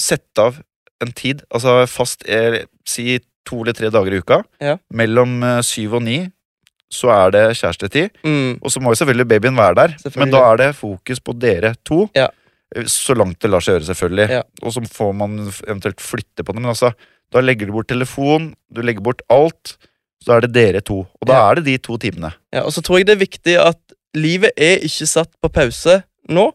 Speaker 1: Sette av en tid, altså fast eh, si to eller tre dager i uka,
Speaker 2: Ja.
Speaker 1: mellom eh, syv og ni, så er det kjærestetid.
Speaker 2: Mm.
Speaker 1: Og så må jo selvfølgelig babyen være der, men
Speaker 2: Selvfølgelig.
Speaker 1: da er det fokus på dere to.
Speaker 2: Ja.
Speaker 1: eh, Så langt det lar seg gjøre, selvfølgelig.
Speaker 2: Ja.
Speaker 1: Og så får man f- eventuelt flytte på det, men altså, da legger du bort telefon, du legger bort alt. Så er det dere to. Og da
Speaker 2: Ja.
Speaker 1: er det de to timene.
Speaker 2: Ja, og så tror jeg det er viktig at livet er ikke satt på pause nå.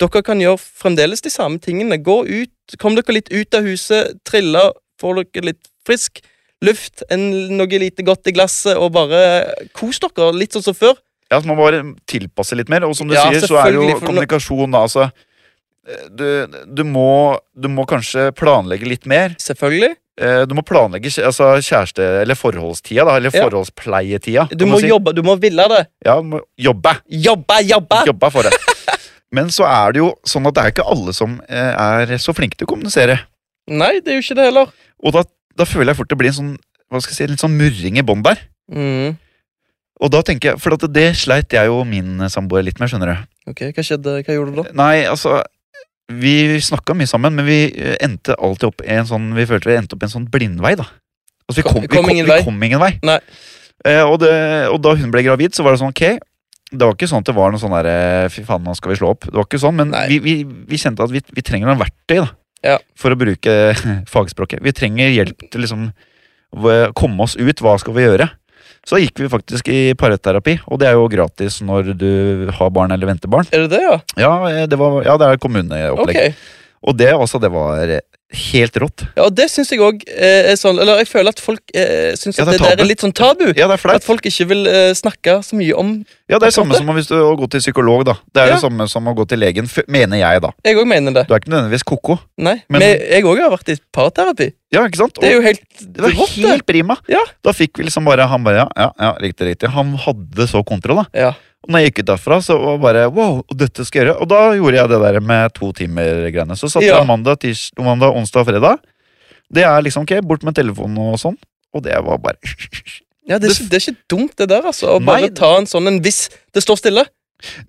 Speaker 2: Dere kan gjøre fremdeles de samme tingene. Gå ut, kom dere litt ut av huset, trille, få dere litt frisk luft, en, noe lite godt i glasset, og bare kos dere litt sånn som før.
Speaker 1: Ja, så Man må bare tilpasse litt mer. Og som du
Speaker 2: Ja,
Speaker 1: sier, så er det jo
Speaker 2: selvfølgelig, for nå-
Speaker 1: kommunikasjon, da. Altså, eh, du, du, må, du må kanskje planlegge litt mer.
Speaker 2: Selvfølgelig.
Speaker 1: Eh, Du må planlegge kjæ- altså, kjæreste- eller forholdstida, da. Eller
Speaker 2: Ja.
Speaker 1: forholdspleietida.
Speaker 2: Du
Speaker 1: kan
Speaker 2: må
Speaker 1: man si.
Speaker 2: jobbe, du må ville det.
Speaker 1: Ja, du må jobbe.
Speaker 2: Jobbe, jobbe!
Speaker 1: Jobbe for det. Men så er det jo sånn at det er ikke alle som eh, er så flinke til å kommunisere.
Speaker 2: Nei, det er jo ikke det heller.
Speaker 1: Og da, da føler jeg fort det blir en sånn hva skal jeg si, litt sånn murring i bånd der.
Speaker 2: Mm.
Speaker 1: Og da tenker jeg, For at det sleit jeg og min samboer litt med, skjønner du.
Speaker 2: Ok, hva skjedde? Hva gjorde du da?
Speaker 1: Nei, altså Vi snakka mye sammen, men vi eh, endte alltid opp i en sånn Vi følte vi endte opp i en sånn blindvei, da. Altså, vi
Speaker 2: Kom-
Speaker 1: kom, vi
Speaker 2: kom
Speaker 1: kom,
Speaker 2: ingen
Speaker 1: vi
Speaker 2: vei.
Speaker 1: kom ingen vei.
Speaker 2: Nei.
Speaker 1: Eh, og, det, og da hun ble gravid, så var det sånn ok Det var ikke sånn at det var noe sånn der eh, Fy faen, nå skal vi slå opp. Det var ikke sånn, men
Speaker 2: Nei.
Speaker 1: vi, vi, vi kjente at vi, vi trenger noen verktøy da
Speaker 2: Ja.
Speaker 1: for å bruke eh, fagspråket. Vi trenger hjelp til liksom hva- komme oss ut. Hva skal vi gjøre? Så da gikk vi faktisk i parterapi, og det er jo gratis når du har barn eller venter barn.
Speaker 2: Er det det, ja?
Speaker 1: Ja, eh, det, var, ja, det er
Speaker 2: Ok.
Speaker 1: kommuneopplegg. Og det, altså, det var eh, helt rått.
Speaker 2: Ja, og det syns jeg òg eh, er sånn Eller jeg føler at folk eh, syns
Speaker 1: Ja,
Speaker 2: at
Speaker 1: det er
Speaker 2: det, der
Speaker 1: tabu.
Speaker 2: er litt sånn tabu.
Speaker 1: Ja, det er
Speaker 2: At
Speaker 1: flaut.
Speaker 2: folk ikke vil eh, snakke så mye om
Speaker 1: Ja, det er samme
Speaker 2: sant det.
Speaker 1: som hvis du, å gå til psykolog, da. Det er
Speaker 2: Ja.
Speaker 1: det samme som å gå til legen, f- mener jeg, da.
Speaker 2: Jeg òg mener det.
Speaker 1: Du er ikke nødvendigvis ko-ko.
Speaker 2: Nei,
Speaker 1: Men-
Speaker 2: men, Jeg òg har vært i parterapi.
Speaker 1: Ja, ikke sant?
Speaker 2: Det er jo helt
Speaker 1: det var
Speaker 2: rått, det.
Speaker 1: helt prima.
Speaker 2: Ja.
Speaker 1: Da fikk vi liksom bare Han bare, ja, ja, ja riktig, riktig. Han hadde så kontroll, da.
Speaker 2: Ja.
Speaker 1: Og når jeg gikk ut derfra, så var bare wow, og dette skal jeg gjøre. Og da gjorde jeg det der med to timer-greiene. Så satt
Speaker 2: Ja.
Speaker 1: jeg mandag, tirs, mandag, onsdag og fredag. Det er liksom ok, bort med telefonen og sånn. Og det var bare
Speaker 2: Ja, det, er
Speaker 1: Det-
Speaker 2: ikke, det er ikke dumt, det der, altså. Å
Speaker 1: Nei.
Speaker 2: bare ta en sånn en hvis det står stille.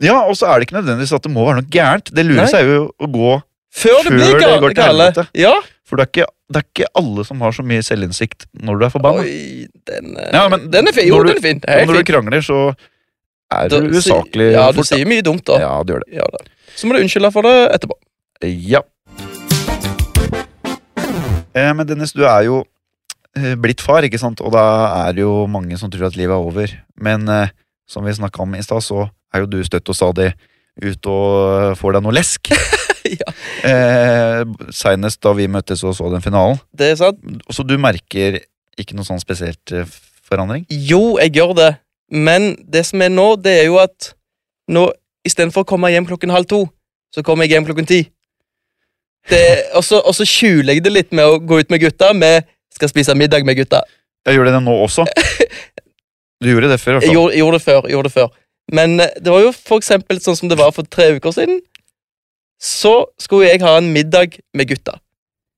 Speaker 1: Ja, og så er det ikke nødvendigvis at det må være noe gærent. Det
Speaker 2: Nei.
Speaker 1: lurer seg jo å gå
Speaker 2: Før
Speaker 1: Før
Speaker 2: det blir
Speaker 1: det
Speaker 2: ga-
Speaker 1: går til
Speaker 2: gale.
Speaker 1: helvete.
Speaker 2: Ja.
Speaker 1: For det er ikke, det er ikke alle som har så mye selvinnsikt når du er forbanna.
Speaker 2: Oi, den, eh,
Speaker 1: Ja, men
Speaker 2: den er fin. Jo,
Speaker 1: når du-
Speaker 2: den er fin.
Speaker 1: Og
Speaker 2: Helt
Speaker 1: når
Speaker 2: fin.
Speaker 1: du krangler, så er
Speaker 2: Da
Speaker 1: du
Speaker 2: si-
Speaker 1: usaklig
Speaker 2: Ja, du
Speaker 1: fort. da.
Speaker 2: sier mye dumt, da. Ja.
Speaker 1: Ja, du gjør det.
Speaker 2: da. Så må du unnskylde for det etterpå.
Speaker 1: Ja. Eh, Men Dennis, du er jo eh, blitt far, ikke sant? Og da er det jo mange som tror at livet er over. Men eh, som vi snakka om i stad, så er jo du støtt og stadig ute og eh, får deg noe lesk.
Speaker 2: ja,
Speaker 1: Eh, Seinest da vi møttes og så den finalen.
Speaker 2: det er sant.
Speaker 1: Så du merker ikke noe sånn spesielt eh, forandring?
Speaker 2: Jo, jeg gjør det, men det som er nå, det er jo at nå istedenfor å komme hjem klokken halv to, så kommer jeg hjem klokken ti. Det- Og så og så skjuler jeg det litt med å gå ut med gutta. Vi skal spise middag med gutta.
Speaker 1: Jeg gjør det nå også. Du gjorde det før, i hvert
Speaker 2: Jeg
Speaker 1: fall.
Speaker 2: gjorde, jeg gjorde det før. jeg gjorde det før. Men eh, det var jo for eksempel sånn som det var for tre uker siden. Så skulle jeg ha en middag med gutta.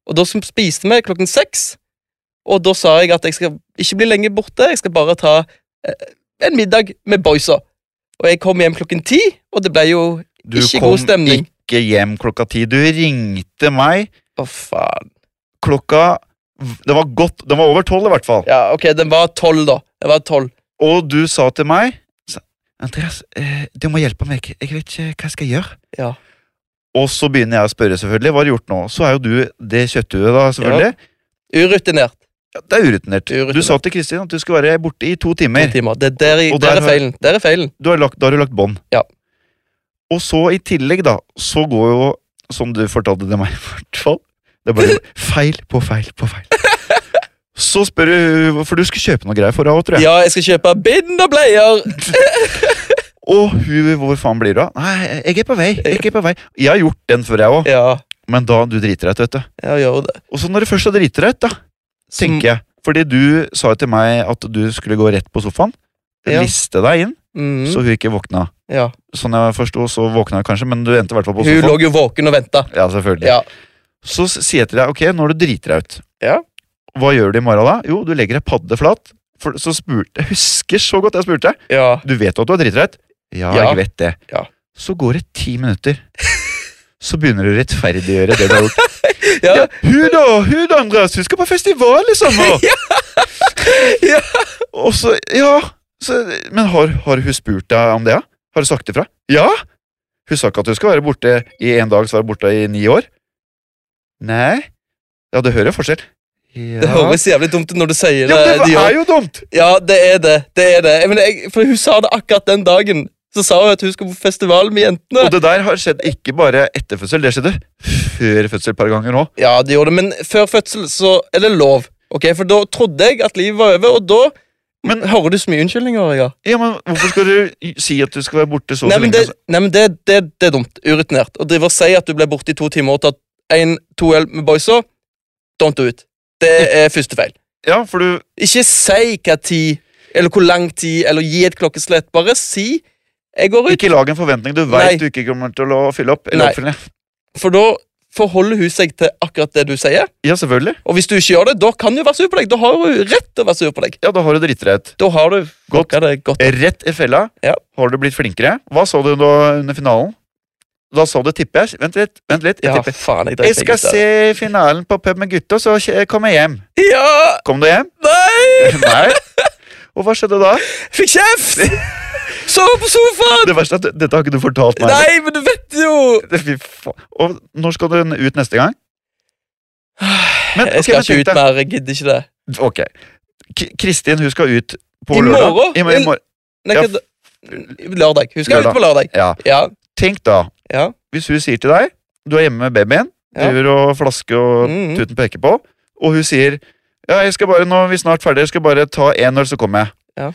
Speaker 2: Og da som- spiste vi klokken seks. Og da sa jeg at jeg skal ikke bli lenge borte, jeg skal bare ta eh, en middag med boysa. Og jeg kom hjem klokken ti, og det ble jo
Speaker 1: Du
Speaker 2: ikke
Speaker 1: kom
Speaker 2: god stemning.
Speaker 1: ikke hjem klokka ti. Du ringte meg
Speaker 2: Å, faen.
Speaker 1: klokka Det var godt, det var over tolv i hvert fall.
Speaker 2: Ja, ok, den var tolv, da. Den var tolv.
Speaker 1: Og du sa til meg sa, Andreas, eh, du må hjelpe meg. Jeg vet ikke hva jeg skal gjøre.
Speaker 2: Ja.
Speaker 1: Og så begynner jeg å spørre, selvfølgelig. Hva har du gjort nå? Så er jo du det kjøtthuet, da, selvfølgelig.
Speaker 2: Urutinert.
Speaker 1: Ja, det er urutinert.
Speaker 2: Urutinert.
Speaker 1: Du sa til Kristin at du skulle være borte i to timer.
Speaker 2: To timer. Det, er der, i-
Speaker 1: Og der
Speaker 2: der er
Speaker 1: har-
Speaker 2: feilen. Der er feilen.
Speaker 1: Du har lagt, da har du lagt bånd.
Speaker 2: Ja.
Speaker 1: Og så i tillegg, da, så går jo, som du fortalte det meg i hvert fall Det er bare feil på feil på feil. Så spør du For du skulle kjøpe noe greier for henne, tror jeg.
Speaker 2: Ja, jeg skal kjøpe bind og bleier!
Speaker 1: Og hun, hvor faen blir du av? Nei, jeg er på vei. Jeg er på vei. Jeg har gjort den før, jeg òg.
Speaker 2: Ja,
Speaker 1: Men da du driter deg ut, vet du.
Speaker 2: jeg gjør det.
Speaker 1: Og så når du først har driti deg ut, da, tenker jeg Fordi du sa jo til meg at du skulle gå rett på sofaen,
Speaker 2: Ja.
Speaker 1: liste deg inn,
Speaker 2: Mm,
Speaker 1: så hun ikke våkna.
Speaker 2: ja.
Speaker 1: Sånn jeg forsto, så våkna hun kanskje, men du endte i hvert fall på
Speaker 2: Hun
Speaker 1: sofaen.
Speaker 2: lå jo våken og venta.
Speaker 1: Ja, selvfølgelig.
Speaker 2: Ja.
Speaker 1: Så s- sier jeg til deg, ok, når du driter deg ut,
Speaker 2: Ja.
Speaker 1: hva gjør du i morgen da? Jo, du legger deg paddeflat. For så spurte, jeg husker så godt jeg spurte deg.
Speaker 2: Ja.
Speaker 1: Du vet jo at du har driti deg ut? Ja,
Speaker 2: Ja.
Speaker 1: jeg vet det.
Speaker 2: Ja.
Speaker 1: Så går det ti minutter. Så begynner du å rettferdiggjøre det du har gjort.
Speaker 2: Ja.
Speaker 1: Ja, hun da, hun da, Andreas, hun skal på festival i sommer!
Speaker 2: Ja.
Speaker 1: Og så, ja så, Men har, har hun spurt deg om det? ja? Har hun sagt ifra? Ja! Hun sa ikke at hun skal være borte i en dag, så var hun borte i ni år. Nei Ja, det hører jeg forskjell. Ja.
Speaker 2: Det høres jævlig dumt ut når du sier
Speaker 1: ja, men
Speaker 2: det. de
Speaker 1: det
Speaker 2: gjør.
Speaker 1: er jo dumt!
Speaker 2: Ja, det er det. det, er det. Jeg mener, jeg, for Hun sa det akkurat den dagen. Så sa hun at hun skulle på festival med jentene.
Speaker 1: Og det der har skjedd ikke bare etter fødsel, det skjedde før fødsel et par ganger nå.
Speaker 2: Ja, det gjorde det, Men før fødsel så er det lov. Ok, For da trodde jeg at livet var over, og da
Speaker 1: Men-
Speaker 2: hører du så mye unnskyldninger. Ja.
Speaker 1: Ja, men Hvorfor skal du si at du skal være borte så og
Speaker 2: Nei,
Speaker 1: så lenge?
Speaker 2: men, det,
Speaker 1: altså?
Speaker 2: nei, men det, det, det er dumt. Urutinert. Å drive og si at du ble borte i to timer og tatt en, to øl med boysa, don't do it. Det er første feil.
Speaker 1: Ja, for du
Speaker 2: Ikke si hva tid, eller hvor lang tid, eller gi et klokkeslett. Bare si 'jeg går ut',
Speaker 1: Ikke lag en forventning du
Speaker 2: Nei.
Speaker 1: veit du ikke kommer til å fylle opp. Eller
Speaker 2: Nei.
Speaker 1: oppfylle.
Speaker 2: for da forholder hun seg til akkurat det du sier.
Speaker 1: Ja, selvfølgelig.
Speaker 2: Og hvis du ikke gjør det, da kan hun være sur på deg. Da har hun rett til å være sur på deg.
Speaker 1: Ja, da har du driti deg ut.
Speaker 2: Da har du
Speaker 1: Godt.
Speaker 2: fucka det godt.
Speaker 1: Rett i fella.
Speaker 2: Ja.
Speaker 1: Har du blitt flinkere? Hva sa du da under finalen? Da sa du tipper jeg. Vent litt. vent litt, Jeg
Speaker 2: Ja,
Speaker 1: tipper.
Speaker 2: faen, jeg dreit
Speaker 1: Jeg
Speaker 2: meg
Speaker 1: skal
Speaker 2: ut der.
Speaker 1: se finalen på pub med gutta, så kje- kommer jeg hjem.
Speaker 2: Ja!
Speaker 1: Kom du hjem?
Speaker 2: Nei!
Speaker 1: Nei. Og hva skjedde da?
Speaker 2: Fikk kjeft! Sove på sofaen!
Speaker 1: Det verste er at Dette har ikke du fortalt meg.
Speaker 2: Nei, men du vet jo
Speaker 1: Fy faen. Og når skal du ut neste gang? Men, ok,
Speaker 2: Jeg skal
Speaker 1: men
Speaker 2: ikke
Speaker 1: tenk
Speaker 2: ut
Speaker 1: deg-
Speaker 2: mer. Jeg gidder ikke det.
Speaker 1: Ok. K- Kristin hun skal ut på
Speaker 2: I
Speaker 1: lørdag.
Speaker 2: morgen?
Speaker 1: I, mo- i morgen.
Speaker 2: Nei,
Speaker 1: Ja,
Speaker 2: hva- Lørdag. Hun skal ut
Speaker 1: Lørdag.
Speaker 2: på lørdag.
Speaker 1: Ja.
Speaker 2: Ja.
Speaker 1: Tenk da,
Speaker 2: Ja.
Speaker 1: hvis hun sier til deg Du er hjemme med babyen,
Speaker 2: Ja.
Speaker 1: driver og flasker og
Speaker 2: Mhm.
Speaker 1: tuten peker på, og hun sier ja, jeg skal bare, nå er vi snart ferdige, jeg skal bare ta én øl, så kommer jeg.
Speaker 2: Da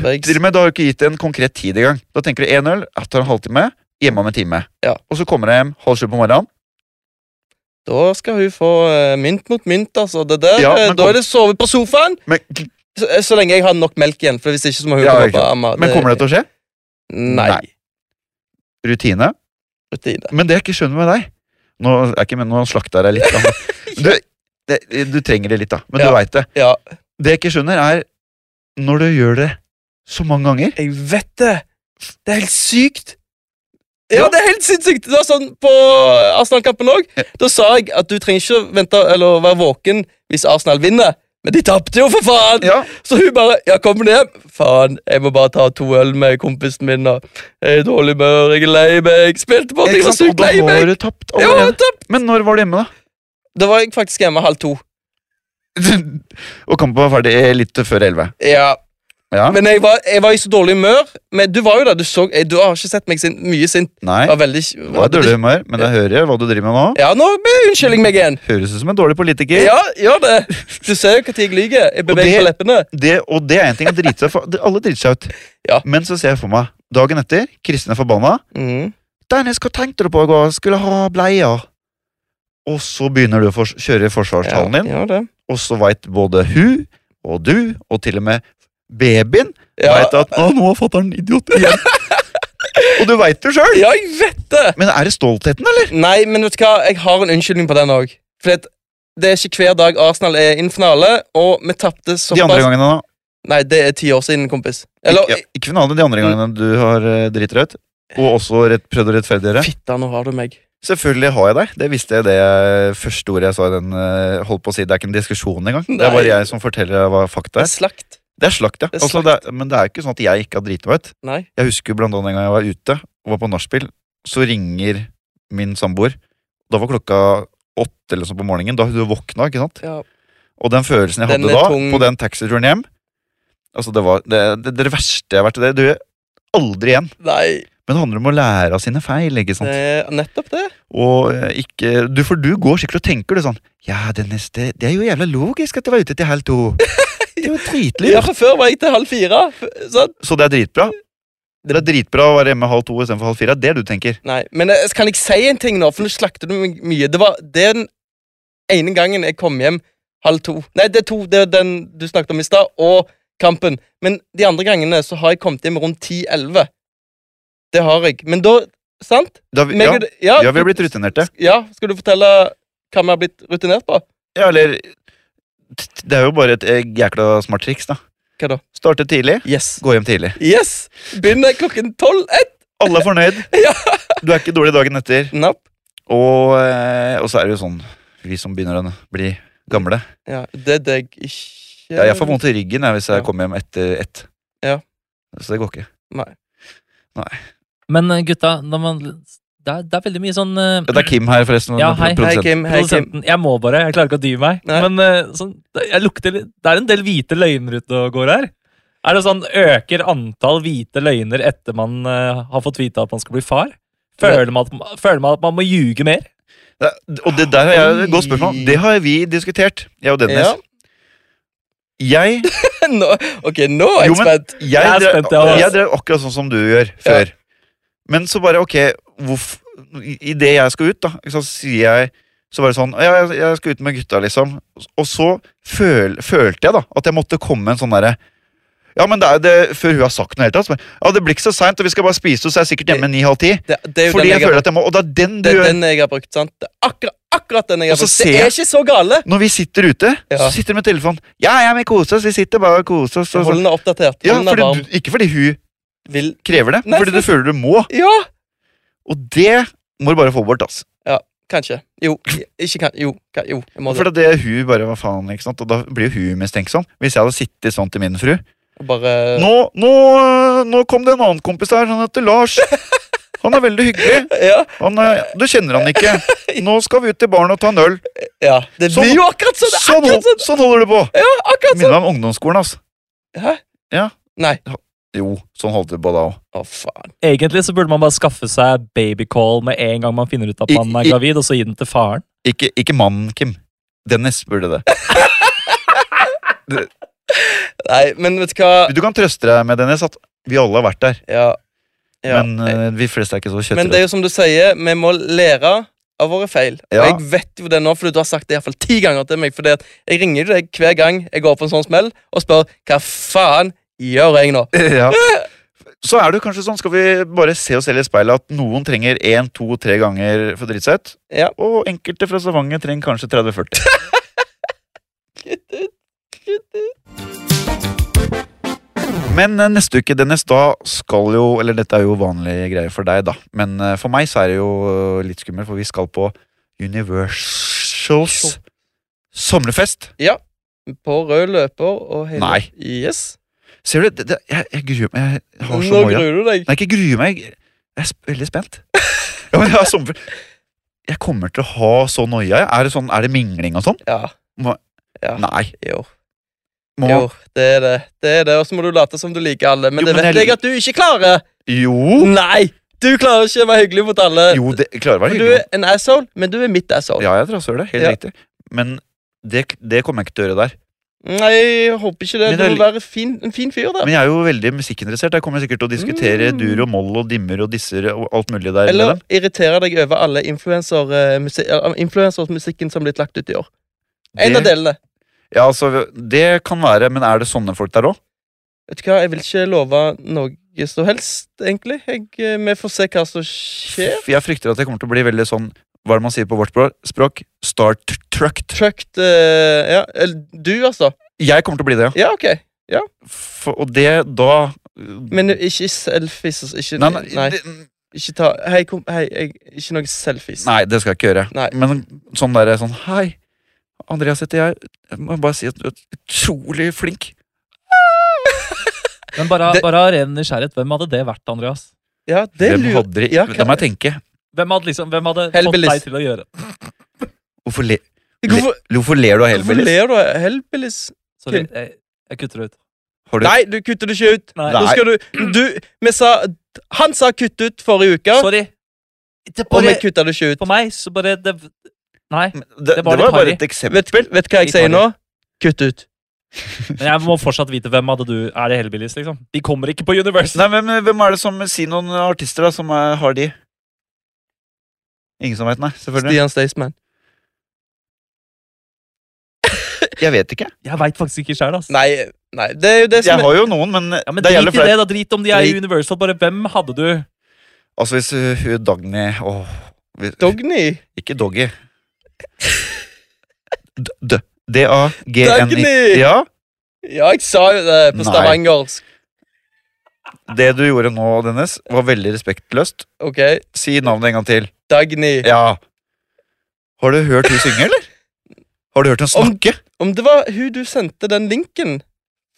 Speaker 1: Til
Speaker 2: jeg
Speaker 1: og med Da har hun ikke gitt en konkret tid engang. Da tenker du én øl, jeg tar en halvtime, hjemme om en time.
Speaker 2: Ja.
Speaker 1: Og så kommer jeg hjem halv sju på morgenen.
Speaker 2: Da skal hun få eh, mynt mot mynt, altså. Det der,
Speaker 1: Ja,
Speaker 2: eh,
Speaker 1: men
Speaker 2: da
Speaker 1: kom-
Speaker 2: er det sove på sofaen
Speaker 1: Men,
Speaker 2: så, eh, så lenge jeg har nok melk igjen. For hvis ikke så må hun
Speaker 1: Ja,
Speaker 2: komme
Speaker 1: ikke
Speaker 2: på amma.
Speaker 1: men kommer det til å skje?
Speaker 2: Nei.
Speaker 1: Nei. Rutine.
Speaker 2: Rutine.
Speaker 1: Men det jeg ikke skjønner med deg Nå, er ikke, men nå slakter jeg deg litt. Da. Du, det, du trenger det litt, da. Men
Speaker 2: Ja.
Speaker 1: du veit det.
Speaker 2: Ja,
Speaker 1: Det jeg ikke skjønner, er når du gjør det så mange ganger
Speaker 2: jeg vet det! Det er helt sykt!
Speaker 1: Ja.
Speaker 2: Ja, det er helt sinnssykt! Det var sånn på Arsenal-kampen òg. Da sa jeg at du trenger ikke vente eller være våken hvis Arsenal vinner. Men de tapte jo, for faen!
Speaker 1: Ja,
Speaker 2: Så hun bare Ja, kommer du hjem? Faen, jeg må bare ta to øl med kompisen min. Og jeg er i dårlig humør, jeg er lei meg, spilte på, jeg
Speaker 1: ikke
Speaker 2: var
Speaker 1: sant? Og
Speaker 2: sykt
Speaker 1: da
Speaker 2: lei
Speaker 1: har
Speaker 2: meg.
Speaker 1: du tapt
Speaker 2: Jeg var
Speaker 1: allerede. Men når var du hjemme,
Speaker 2: Da var jeg faktisk hjemme halv to.
Speaker 1: da? og kampen var ferdig litt før elleve.
Speaker 2: Ja.
Speaker 1: Ja.
Speaker 2: Men jeg var, jeg var i så dårlig humør. Men du var jo der, du så jeg, Du har ikke sett meg sint, mye sint.
Speaker 1: Nei,
Speaker 2: Jeg var veldig
Speaker 1: det var dårlig humør, men jeg hører jo hva du driver med nå.
Speaker 2: Ja, nå unnskylder jeg meg igjen.
Speaker 1: Høres ut som en dårlig politiker.
Speaker 2: Ja, gjør det. Du ser jo når jeg lyver. Jeg beveger
Speaker 1: det-
Speaker 2: på leppene.
Speaker 1: Det, og det er en ting jeg driter seg for. det- Alle driter seg ut.
Speaker 2: Ja.
Speaker 1: Men så ser jeg for meg dagen etter. Kristin er forbanna.
Speaker 2: Mm.
Speaker 1: 'Dennis, hva tenkte du på i går? Skulle ha bleier.' Og så begynner du å fors kjøre forsvarstalen din,
Speaker 2: Ja, gjør det.
Speaker 1: og så veit både hun og du, og til og med babyen,
Speaker 2: Ja.
Speaker 1: vet at 'Å, nå er fatter'n idiot igjen'. og du veit det sjøl!
Speaker 2: ja, jeg vet det!
Speaker 1: Men er det stoltheten, eller?
Speaker 2: Nei, men vet du hva? Jeg har en unnskyldning på den òg. Det er ikke hver dag Arsenal er innen finale, og vi tapte
Speaker 1: De andre
Speaker 2: såpass
Speaker 1: gangene, da.
Speaker 2: Nei, det er ti år siden, kompis. Eller Mm.
Speaker 1: Ikke, ja, ikke finalen, de andre gangene du har eh, driti deg ut. Og også rett, prøvd å rettferdiggjøre.
Speaker 2: Fitta, nå har du meg.
Speaker 1: Selvfølgelig har jeg deg. Det visste jeg det eh, første ordet jeg sa i den eh, Holdt på å si, Det er ikke en diskusjon engang. Det er
Speaker 2: Nei.
Speaker 1: bare jeg som forteller deg hva fakta er.
Speaker 2: Det er slakt.
Speaker 1: Det er slakt, ja.
Speaker 2: Det er
Speaker 1: altså, det er, men det er ikke sånn at jeg ikke har driti meg ut.
Speaker 2: Nei.
Speaker 1: Jeg husker blant annet en gang jeg var ute og var på nachspiel, så ringer min samboer. Da var klokka åtte eller sånn på morgenen. Da hadde hun våkna, ikke sant.
Speaker 2: Ja.
Speaker 1: Og den følelsen jeg
Speaker 2: Den
Speaker 1: hadde
Speaker 2: er
Speaker 1: da,
Speaker 2: tung.
Speaker 1: på den taxituren hjem Altså, det var det, det, det verste jeg har vært i det. Du gjør aldri igjen.
Speaker 2: Nei,
Speaker 1: Men det handler om å lære av sine feil, ikke sant.
Speaker 2: det er nettopp det.
Speaker 1: Og eh, ikke du, For du går sikkert og tenker du sånn Ja, det neste Det er jo jævla logisk at det var ute til halv to. Det er jo dritlurt.
Speaker 2: Ja, for Før var jeg til halv fire. f- sånn. Sant?
Speaker 1: Så det er dritbra. Det er dritbra å være hjemme halv to istedenfor halv fire. Det er det du tenker.
Speaker 2: Nei, men jeg, kan jeg si en ting nå, for nå slakter du meg mye. Det var den ene gangen jeg kom hjem halv to. Nei, det er to, det er den du snakket om i stad, og kampen. Men de andre gangene så har jeg kommet hjem rundt 10-11. Det har jeg. Men da Sant?
Speaker 1: Da, vi-
Speaker 2: Meg
Speaker 1: ja,
Speaker 2: og d- ja,
Speaker 1: ja, vi har blitt rutinerte.
Speaker 2: Ja, skal du fortelle hva vi har blitt rutinert på?
Speaker 1: Ja, eller t- t- Det er jo bare et eh, jækla smart triks, da.
Speaker 2: Hva da?
Speaker 1: Starte tidlig,
Speaker 2: Yes.
Speaker 1: gå hjem tidlig.
Speaker 2: Yes! Begynner klokken 12-1.
Speaker 1: Alle er fornøyd.
Speaker 2: Ja.
Speaker 1: Du er ikke dårlig dagen etter.
Speaker 2: Napp.
Speaker 1: Og, eh, og så er det jo sånn, vi som begynner å bli gamle
Speaker 2: Ja, det er deg ikke
Speaker 1: ja, Jeg får vondt i ryggen jeg, hvis jeg
Speaker 2: Ja.
Speaker 1: kommer hjem etter ett.
Speaker 2: Ja.
Speaker 1: Så det går ikke.
Speaker 2: Nei.
Speaker 3: Men eh, gutta, når man, det, er, det er veldig mye sånn eh,
Speaker 1: Det er Kim her, forresten.
Speaker 3: Ja, hei.
Speaker 2: Hei,
Speaker 1: produsenten.
Speaker 2: Kim. Hei, Kim.
Speaker 3: Produsenten, jeg må bare, jeg klarer ikke å dy meg.
Speaker 2: Nei.
Speaker 3: Men eh, sånn, det- jeg lukter litt Det er en del hvite løgner ute og går her. Er det sånn, Øker antall hvite løgner etter man eh, har fått vite at man skal bli far? Føler man at, føler man, at man må ljuge mer?
Speaker 1: Det, og det der er et godt spørsmål.
Speaker 2: Oi.
Speaker 1: Det har vi diskutert, jeg og Dennis.
Speaker 2: Ja.
Speaker 1: Jeg,
Speaker 2: nå, ok, nå er
Speaker 1: Jo,
Speaker 2: jeg
Speaker 1: men-
Speaker 2: spent.
Speaker 1: jeg,
Speaker 3: er
Speaker 1: drev,
Speaker 3: spent, ja.
Speaker 1: jeg drev akkurat sånn som du gjør før. Men så bare, ok hvorf, i- I det jeg skal ut, da, så sier jeg så var det sånn ja, jeg, jeg skal ut med gutta, liksom. Og så føl, følte jeg da at jeg måtte komme med en sånn derre Ja, men det er det Før hun har sagt noe i det hele tatt. så bare, Ja, det blir ikke så seint, og vi skal bare spise, så er jeg sikkert hjemme ni-halv ti.
Speaker 2: Det, det er jo
Speaker 1: Fordi jeg
Speaker 2: den jeg har
Speaker 1: føler at jeg må Og det er den du
Speaker 2: Det er
Speaker 1: gjør.
Speaker 2: den jeg har brukt, sant? Det er akkurat, akkurat den jeg har
Speaker 1: Og så
Speaker 2: brukt.
Speaker 1: ser
Speaker 2: Det er
Speaker 1: jeg-
Speaker 2: ikke så gale.
Speaker 1: Når vi sitter ute, så
Speaker 2: Ja.
Speaker 1: sitter de med telefonen. Ja, ja, men kose oss. Vi sitter bare og koser oss. Og
Speaker 2: Hold
Speaker 1: sånn.
Speaker 2: den oppdatert.
Speaker 1: Ja,
Speaker 2: Hold den
Speaker 1: fordi
Speaker 2: varm.
Speaker 1: du, ikke fordi hun
Speaker 2: Vil...
Speaker 1: krever det,
Speaker 2: Nei,
Speaker 1: men fordi du føler du må.
Speaker 2: Ja,
Speaker 1: Og det må du bare få bort. ass.
Speaker 2: kanskje. Jo, ikke kan... Jo, kan... jo jeg må
Speaker 1: For
Speaker 2: det.
Speaker 1: det er hun bare, hva faen, ikke sant? Og da blir jo hun mistenksom. Hvis jeg hadde sittet sånn til min fru
Speaker 2: Bare
Speaker 1: Nå, nå, øh, nå kom det en annen kompis her, han heter Lars. Han er veldig hyggelig.
Speaker 2: Ja,
Speaker 1: Han er, du kjenner han ikke. Nå skal vi ut til baren og ta en øl.
Speaker 2: ja. Det
Speaker 1: Sånn-
Speaker 2: blir jo akkurat sånn! det er
Speaker 1: Sånn,
Speaker 2: Akkurat sånn!
Speaker 1: sånn holder du på!
Speaker 2: Akkurat sånn!
Speaker 1: Minner meg om ungdomsskolen. ass.
Speaker 2: Hæ?
Speaker 1: Ja.
Speaker 2: Nei.
Speaker 1: Jo, sånn holdt du på da òg.
Speaker 2: Å, faen.
Speaker 3: Egentlig så burde man bare skaffe seg babycall med en gang man finner ut at
Speaker 1: I-
Speaker 3: man er
Speaker 1: i-
Speaker 3: gravid, og så gi den til faren.
Speaker 1: Ikke, ikke mannen, Kim. Dennis burde det.
Speaker 2: Nei, men vet du hva
Speaker 1: Du kan trøste deg med Dennis at vi alle har vært der,
Speaker 2: Ja. ja.
Speaker 1: men eh, vi fleste er ikke så
Speaker 2: Men det
Speaker 1: kjøttrøde.
Speaker 2: er jo som du sier, vi må lære av våre feil. Og
Speaker 1: Ja.
Speaker 2: jeg vet jo det nå, for du har sagt det i hvert fall ti ganger til meg. Fordi at jeg ringer jo deg hver gang jeg går på en sånn smell, og spør hva faen gjør jeg nå?
Speaker 1: ja. Så er det jo kanskje sånn, skal vi bare se oss selv i speilet, at noen trenger én, to, tre ganger for dritsett,
Speaker 2: Ja.
Speaker 1: og enkelte fra Stavanger trenger kanskje 30-40. Men eh, neste uke, Dennis, da skal jo Eller dette er jo vanlige greier for deg, da. Men eh, for meg så er det jo eh, litt skummelt, for vi skal på Universals sommerfest.
Speaker 2: På rød løper og hele
Speaker 1: Nei.
Speaker 2: Yes.
Speaker 1: Ser du, det, det, jeg, jeg gruer meg. Jeg
Speaker 2: Nå
Speaker 1: har så mye.
Speaker 2: gruer du deg.
Speaker 1: Nei, ikke gruer meg. Jeg er sp- veldig spent. Ja, men jeg, har sommer. jeg kommer til å ha så noia. jeg. Er det, sånn, er det mingling og sånn?
Speaker 2: Ja.
Speaker 1: Må-
Speaker 2: ja.
Speaker 1: Nei.
Speaker 2: Jo.
Speaker 1: Må,
Speaker 2: jo, det er det. det er det. Og så må du late som du liker alle. Men
Speaker 1: Jo,
Speaker 2: det
Speaker 1: men
Speaker 2: vet
Speaker 1: jeg-
Speaker 2: jeg at du ikke klarer.
Speaker 1: jo.
Speaker 2: Nei! Du klarer ikke å være hyggelig mot alle.
Speaker 1: jo, det klarer å
Speaker 2: For
Speaker 1: være
Speaker 2: du er
Speaker 1: hyggelig.
Speaker 2: en asshole, men du er mitt asshole.
Speaker 1: Ja, jeg trasser det. Helt
Speaker 2: Ja.
Speaker 1: riktig. Men det, det kommer jeg ikke til å gjøre der.
Speaker 2: Nei, jeg håper ikke det.
Speaker 1: Men
Speaker 2: Du
Speaker 1: det er
Speaker 2: må være fin, en fin fyr, da.
Speaker 1: Men jeg er jo veldig musikkinteressert. Jeg kommer sikkert til å diskutere
Speaker 2: Mm.
Speaker 1: dur og moll og dimmer og disser og alt mulig der. med
Speaker 2: Eller
Speaker 1: dem.
Speaker 2: irritere deg over alle eh, influensersmusikken som er blitt lagt ut i år. En
Speaker 1: Det-
Speaker 2: av delene.
Speaker 1: Ja, altså, det kan være, men er det sånne folk der òg?
Speaker 2: Vet du hva, jeg vil ikke love noe som helst, egentlig. Jeg, eh, vi får se hva som skjer.
Speaker 1: Jeg frykter at jeg kommer til å bli veldig sånn Hva er det man sier på vårt språk? språk? Start trucked.
Speaker 2: Trucked eh, Ja, eller du, altså.
Speaker 1: Jeg kommer til å bli det, ja.
Speaker 2: Ja, OK.
Speaker 1: For, og det da
Speaker 2: Men ikke selfies. altså, Ikke,
Speaker 1: nei,
Speaker 2: nei,
Speaker 1: nei, det-
Speaker 2: ikke ta Hei, kom, hei jeg, ikke noe selfies.
Speaker 1: nei, det skal jeg ikke gjøre.
Speaker 2: Nei.
Speaker 1: Men sånn derre sånn Hei, Andreas heter jeg. Jeg må bare si at du er utrolig flink.
Speaker 3: Men bare,
Speaker 2: Det-
Speaker 3: bare av ren nysgjerrighet, hvem hadde det vært, Andreas?
Speaker 2: Ja, det
Speaker 1: Hvem
Speaker 2: lurer
Speaker 1: hadde de
Speaker 2: Ja,
Speaker 1: Da må jeg tenke.
Speaker 3: Hvem hadde, liksom, hvem hadde
Speaker 2: Hell
Speaker 3: fått
Speaker 2: Billis.
Speaker 3: deg til å gjøre det?
Speaker 1: Hvorfor, le,
Speaker 2: Hvorfor,
Speaker 1: Hvorfor ler du av
Speaker 2: hvorfor
Speaker 1: Hellbillies?
Speaker 2: ler du av Hellbillies?
Speaker 3: Sorry, jeg, jeg kutter det ut.
Speaker 1: Har du-
Speaker 2: Nei, du kutter det ikke ut.
Speaker 3: Nei.
Speaker 2: Nå skal du, du vi sa, Han sa kutt ut forrige uke,
Speaker 3: Sorry. Det
Speaker 2: og vi
Speaker 3: bare,
Speaker 2: kutta det ikke ut.
Speaker 3: på meg så bare det, Nei.
Speaker 1: Det, det var
Speaker 3: var litt
Speaker 1: bare
Speaker 3: harry.
Speaker 1: et eksempel.
Speaker 2: Vet, vet du hva jeg
Speaker 3: Vi
Speaker 2: sier
Speaker 3: tar det.
Speaker 2: nå? Kutt ut.
Speaker 3: Men jeg må fortsatt vite hvem hadde du Er det Hellbillies, liksom? De kommer ikke på Universal.
Speaker 1: Nei, men men hvem er det som sier noen artister da, som er, har de? Ingen som veit, nei. Selvfølgelig.
Speaker 2: Stian Staysman.
Speaker 1: Jeg vet ikke.
Speaker 3: Jeg veit faktisk ikke sjøl, ass.
Speaker 2: Nei, nei, det er jo det
Speaker 1: Jeg
Speaker 2: som er
Speaker 1: har jo noen, men,
Speaker 3: Ja, men
Speaker 1: det
Speaker 3: Drit
Speaker 1: gjelder
Speaker 3: i
Speaker 1: flere.
Speaker 3: det, da. Drit om de er i
Speaker 1: Drit.
Speaker 3: Universal. Bare hvem hadde du?
Speaker 1: Altså, hvis uh, hun Dagny Åh. vi-
Speaker 2: Dogny.
Speaker 1: Ikke Doggy. D- d- D-A-G-N-I.
Speaker 2: Dagny!
Speaker 1: Ja,
Speaker 2: Ja, jeg sa jo det på
Speaker 1: Nei.
Speaker 2: stavangersk.
Speaker 1: det du gjorde nå, Dennis, var veldig respektløst.
Speaker 2: Ok,
Speaker 1: Si navnet en gang til.
Speaker 2: Dagny.
Speaker 1: Ja. Har du hørt hun synge, eller? Har du hørt henne
Speaker 2: Om-
Speaker 1: snakke?
Speaker 2: Om det var hun du sendte den linken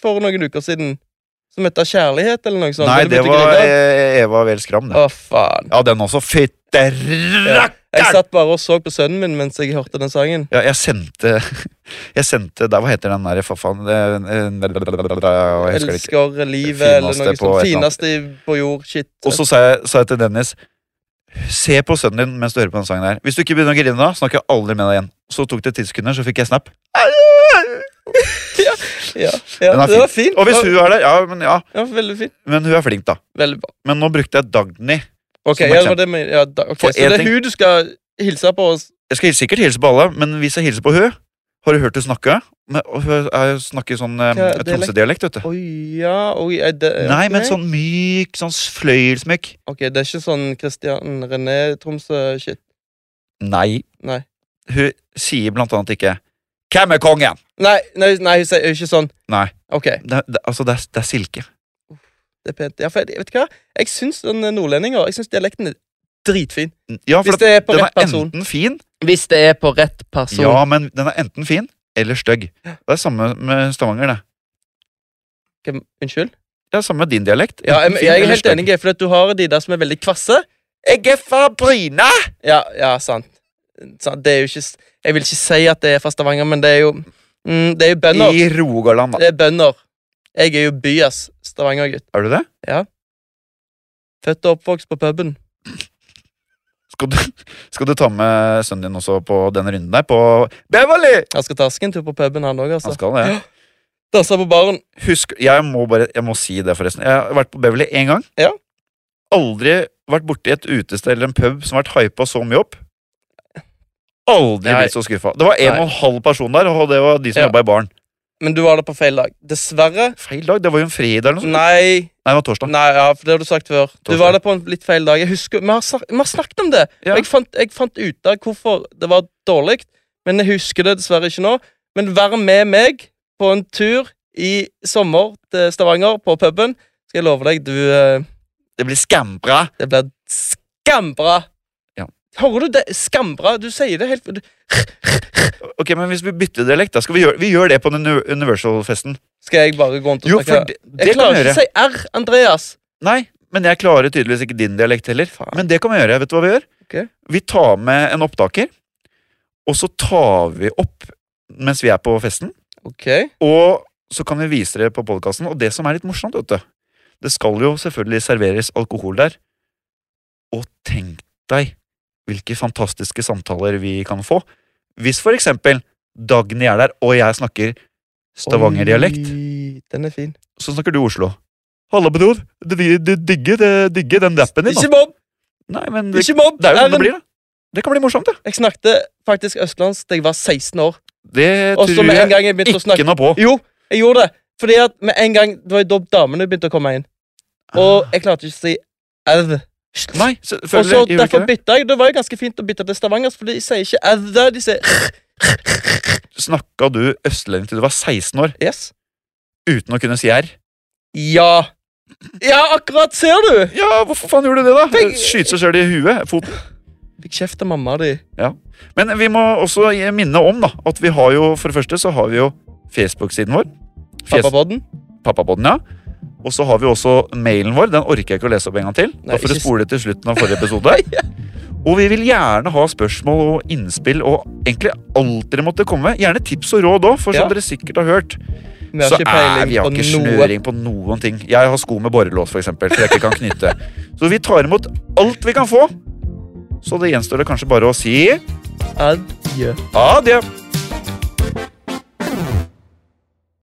Speaker 2: for noen uker siden, som heter Kjærlighet eller noe sånt?
Speaker 1: Nei,
Speaker 2: og du
Speaker 1: det
Speaker 2: begynte å
Speaker 1: var
Speaker 2: grine.
Speaker 1: eh, Eva Vel Skram, det.
Speaker 2: Å, faen.
Speaker 1: Ja, den også. Fytterakk!
Speaker 2: Jeg satt bare og så på sønnen min mens jeg hørte den sangen.
Speaker 1: Ja, jeg sendte Jeg sendte der, Hva heter den der, for faen? Det- Jeg husker det ikke.
Speaker 2: Elsker livet eller
Speaker 1: Fineste
Speaker 2: noe
Speaker 1: på
Speaker 2: sånt.
Speaker 1: et eller annet.
Speaker 2: Fineste på jord. Shit.
Speaker 1: Og så sa jeg, sa jeg til Dennis Se på sønnen din mens du hører på den sangen her. Hvis du ikke begynner å grine da, snakker jeg aldri med deg igjen. Så tok det ti sekunder, så fikk jeg snap.
Speaker 2: ja, ja,
Speaker 1: Den er
Speaker 2: det var fint.
Speaker 1: Og hvis
Speaker 2: Det
Speaker 1: hun er der, ja, men ja.
Speaker 2: var- ja, veldig fint.
Speaker 1: Men hun er flink, da.
Speaker 2: Veldig bra.
Speaker 1: Men nå brukte jeg Dagny.
Speaker 2: Ok,
Speaker 1: Som
Speaker 2: ja, det var
Speaker 1: eksempel.
Speaker 2: det med, ja, da, ok,
Speaker 1: For
Speaker 2: Så det
Speaker 1: en
Speaker 2: er
Speaker 1: ting-
Speaker 2: hun du skal hilse på oss?
Speaker 1: Jeg skal sikkert hilse på alle, men hvis jeg hilser på hun Har du hørt hun snakke? Men, og hun er, snakker sånn eh,
Speaker 2: Hva er dialekt?
Speaker 1: Tromsø-dialekt, vet du.
Speaker 2: Oi, ja oi, er det,
Speaker 1: Nei, men
Speaker 2: ok.
Speaker 1: sånn myk, sånn fløyelsmyk.
Speaker 2: Ok, det er ikke sånn Christian René Tromsø-shit.
Speaker 1: Nei.
Speaker 2: Nei.
Speaker 1: Hun sier blant annet ikke 'Hvem er kongen?'
Speaker 2: Nei, nei, nei, hun sier ikke sånn.
Speaker 1: Nei.
Speaker 2: Ok,
Speaker 1: Det, det, altså, det er, det er silke.
Speaker 2: det er pent. Ja, for jeg, vet du hva? Jeg syns den eh, nordlendinger, jeg syns dialekten er dritfin.
Speaker 1: Ja, for
Speaker 2: Hvis
Speaker 1: at
Speaker 2: det er på
Speaker 1: den
Speaker 2: rett
Speaker 1: er
Speaker 2: person.
Speaker 1: enten fin
Speaker 2: Hvis det er på rett person.
Speaker 1: Ja, men den er enten fin eller stygg. Det er samme med Stavanger, det.
Speaker 2: Hvem- Unnskyld?
Speaker 1: Det er samme med din dialekt.
Speaker 2: Ja, jeg,
Speaker 1: Enten fin
Speaker 2: jeg er
Speaker 1: eller
Speaker 2: helt
Speaker 1: stygg.
Speaker 2: enig, for at du har de der som er veldig kvasse.
Speaker 1: Jeg er fra Bryne!
Speaker 2: Ja, ja, sant. sant. Det er jo ikke s- Jeg vil ikke si at det er fra Stavanger, men det er jo mm, Det er jo bønder.
Speaker 1: I Rogaland, da.
Speaker 2: Det er bønder. Jeg er jo by, ass. Stavanger-gutt.
Speaker 1: Er du det?
Speaker 2: Født og oppvokst på puben.
Speaker 1: Skal du, skal du ta med sønnen din også på den runden der? På Beverly!
Speaker 2: Han skal ta seg en tur på puben, han òg,
Speaker 1: Han
Speaker 2: altså.
Speaker 1: skal det.
Speaker 2: Danse på baren.
Speaker 1: Husk, jeg må bare Jeg må si det, forresten. Jeg har vært på Beverly én gang.
Speaker 2: Ja.
Speaker 1: Aldri vært borti et utested eller en pub som har vært hypa så mye opp. Aldri
Speaker 2: Nei.
Speaker 1: blitt så skuffa. Det var en
Speaker 2: Nei.
Speaker 1: og en halv person der, og det var de som
Speaker 2: Ja.
Speaker 1: jobba i baren.
Speaker 2: Men du var der på feil dag. Dessverre.
Speaker 1: Feil dag. Det var jo en fredag eller noe sånt.
Speaker 2: Nei,
Speaker 1: Nei, det var torsdag.
Speaker 2: nei ja, for det har du sagt før. Du
Speaker 1: Torsdag.
Speaker 2: var der på en litt feil dag. Jeg husker, Vi har, snak, vi har snakket om det.
Speaker 1: Ja.
Speaker 2: Og jeg fant, jeg fant ut av hvorfor det var dårlig, men jeg husker det dessverre ikke nå. Men vær med meg på en tur i sommer til Stavanger, på puben. Skal jeg love deg, du eh,
Speaker 1: Det blir skambra.
Speaker 2: Det blir skambra.
Speaker 1: Ja.
Speaker 2: Hører du det? Skambra. Du sier det helt du,
Speaker 1: Ok, men Hvis vi bytter dialekt, da skal vi gjøre, vi gjør det på den uni- Universal-festen.
Speaker 2: Skal jeg bare gå rundt og
Speaker 1: Jo, for
Speaker 2: snakke
Speaker 1: det, det
Speaker 2: Jeg
Speaker 1: kan
Speaker 2: klarer
Speaker 1: vi
Speaker 2: ikke å
Speaker 1: gjøre.
Speaker 2: si R, Andreas.
Speaker 1: Nei, men jeg klarer tydeligvis ikke din dialekt heller.
Speaker 2: Faen.
Speaker 1: Men det kan vi gjøre. Vet du hva vi gjør?
Speaker 2: Ok.
Speaker 1: Vi tar med en opptaker, og så tar vi opp mens vi er på festen.
Speaker 2: Ok.
Speaker 1: Og så kan vi vise det på podkasten. Og det som er litt morsomt, vet du Det skal jo selvfølgelig serveres alkohol der. Og tenk deg hvilke fantastiske samtaler vi kan få. Hvis for eksempel Dagny er der, og jeg snakker Stavanger-dialekt,
Speaker 2: Oi, Den er fin.
Speaker 1: så snakker du Oslo. Halla, bror. Du, du, du digger, det- digger den rappen din, da.
Speaker 2: Ikke mobb!
Speaker 1: Nei, men det,
Speaker 2: Ikke mobb!
Speaker 1: det er jo sånn det
Speaker 2: Erlend.
Speaker 1: blir, da. Det kan bli morsomt, det.
Speaker 2: Jeg snakket faktisk østlandsk da jeg var 16 år.
Speaker 1: Det
Speaker 2: Og så
Speaker 1: tror
Speaker 2: med en
Speaker 1: jeg
Speaker 2: gang jeg begynte å
Speaker 1: ikke
Speaker 2: snakke
Speaker 1: noe på.
Speaker 2: Jo, jeg gjorde det. Fordi at med en gang Det var jo da damene begynte å komme inn. Og jeg klarte ikke å si au.
Speaker 1: Nei,
Speaker 2: Og
Speaker 1: selvfølgelig
Speaker 2: så
Speaker 1: gjør vi ikke
Speaker 2: derfor
Speaker 1: det.
Speaker 2: bytta jeg. Det var jo ganske fint å bytte til stavangersk, for de sier ikke au der. De sier
Speaker 1: Snakka du østlending til du var 16 år
Speaker 2: yes.
Speaker 1: uten å kunne si r?
Speaker 2: Ja. Ja, akkurat. Ser du?
Speaker 1: Ja, hvorfor faen gjorde du det, da?
Speaker 2: Tenk-
Speaker 1: Skyte seg sjøl i huet. Foten.
Speaker 2: Fikk kjeft av mamma di.
Speaker 1: Men vi må også minne om da at vi har jo for det første så har vi jo Facebook-siden vår. Fjes-
Speaker 2: Pappabodden.
Speaker 1: Pappapodden, ja. Og så har vi også mailen vår. Den orker jeg ikke å lese opp en gang til.
Speaker 2: Nei,
Speaker 1: da får du
Speaker 2: ikke s-
Speaker 1: spole til slutten av forrige episode. Og vi vil gjerne ha spørsmål og innspill og egentlig alt dere måtte komme med. Gjerne tips og råd òg, for som
Speaker 2: Ja.
Speaker 1: dere sikkert har hørt,
Speaker 2: Vi har
Speaker 1: så
Speaker 2: ikke
Speaker 1: er
Speaker 2: peiling
Speaker 1: vi har ikke
Speaker 2: på noe.
Speaker 1: snøring på noen ting. Jeg har sko med borrelås, f.eks., for jeg ikke kan knyte. Så vi tar imot alt vi kan få. Så det gjenstår det kanskje bare å si
Speaker 2: Adjø.
Speaker 1: ha det.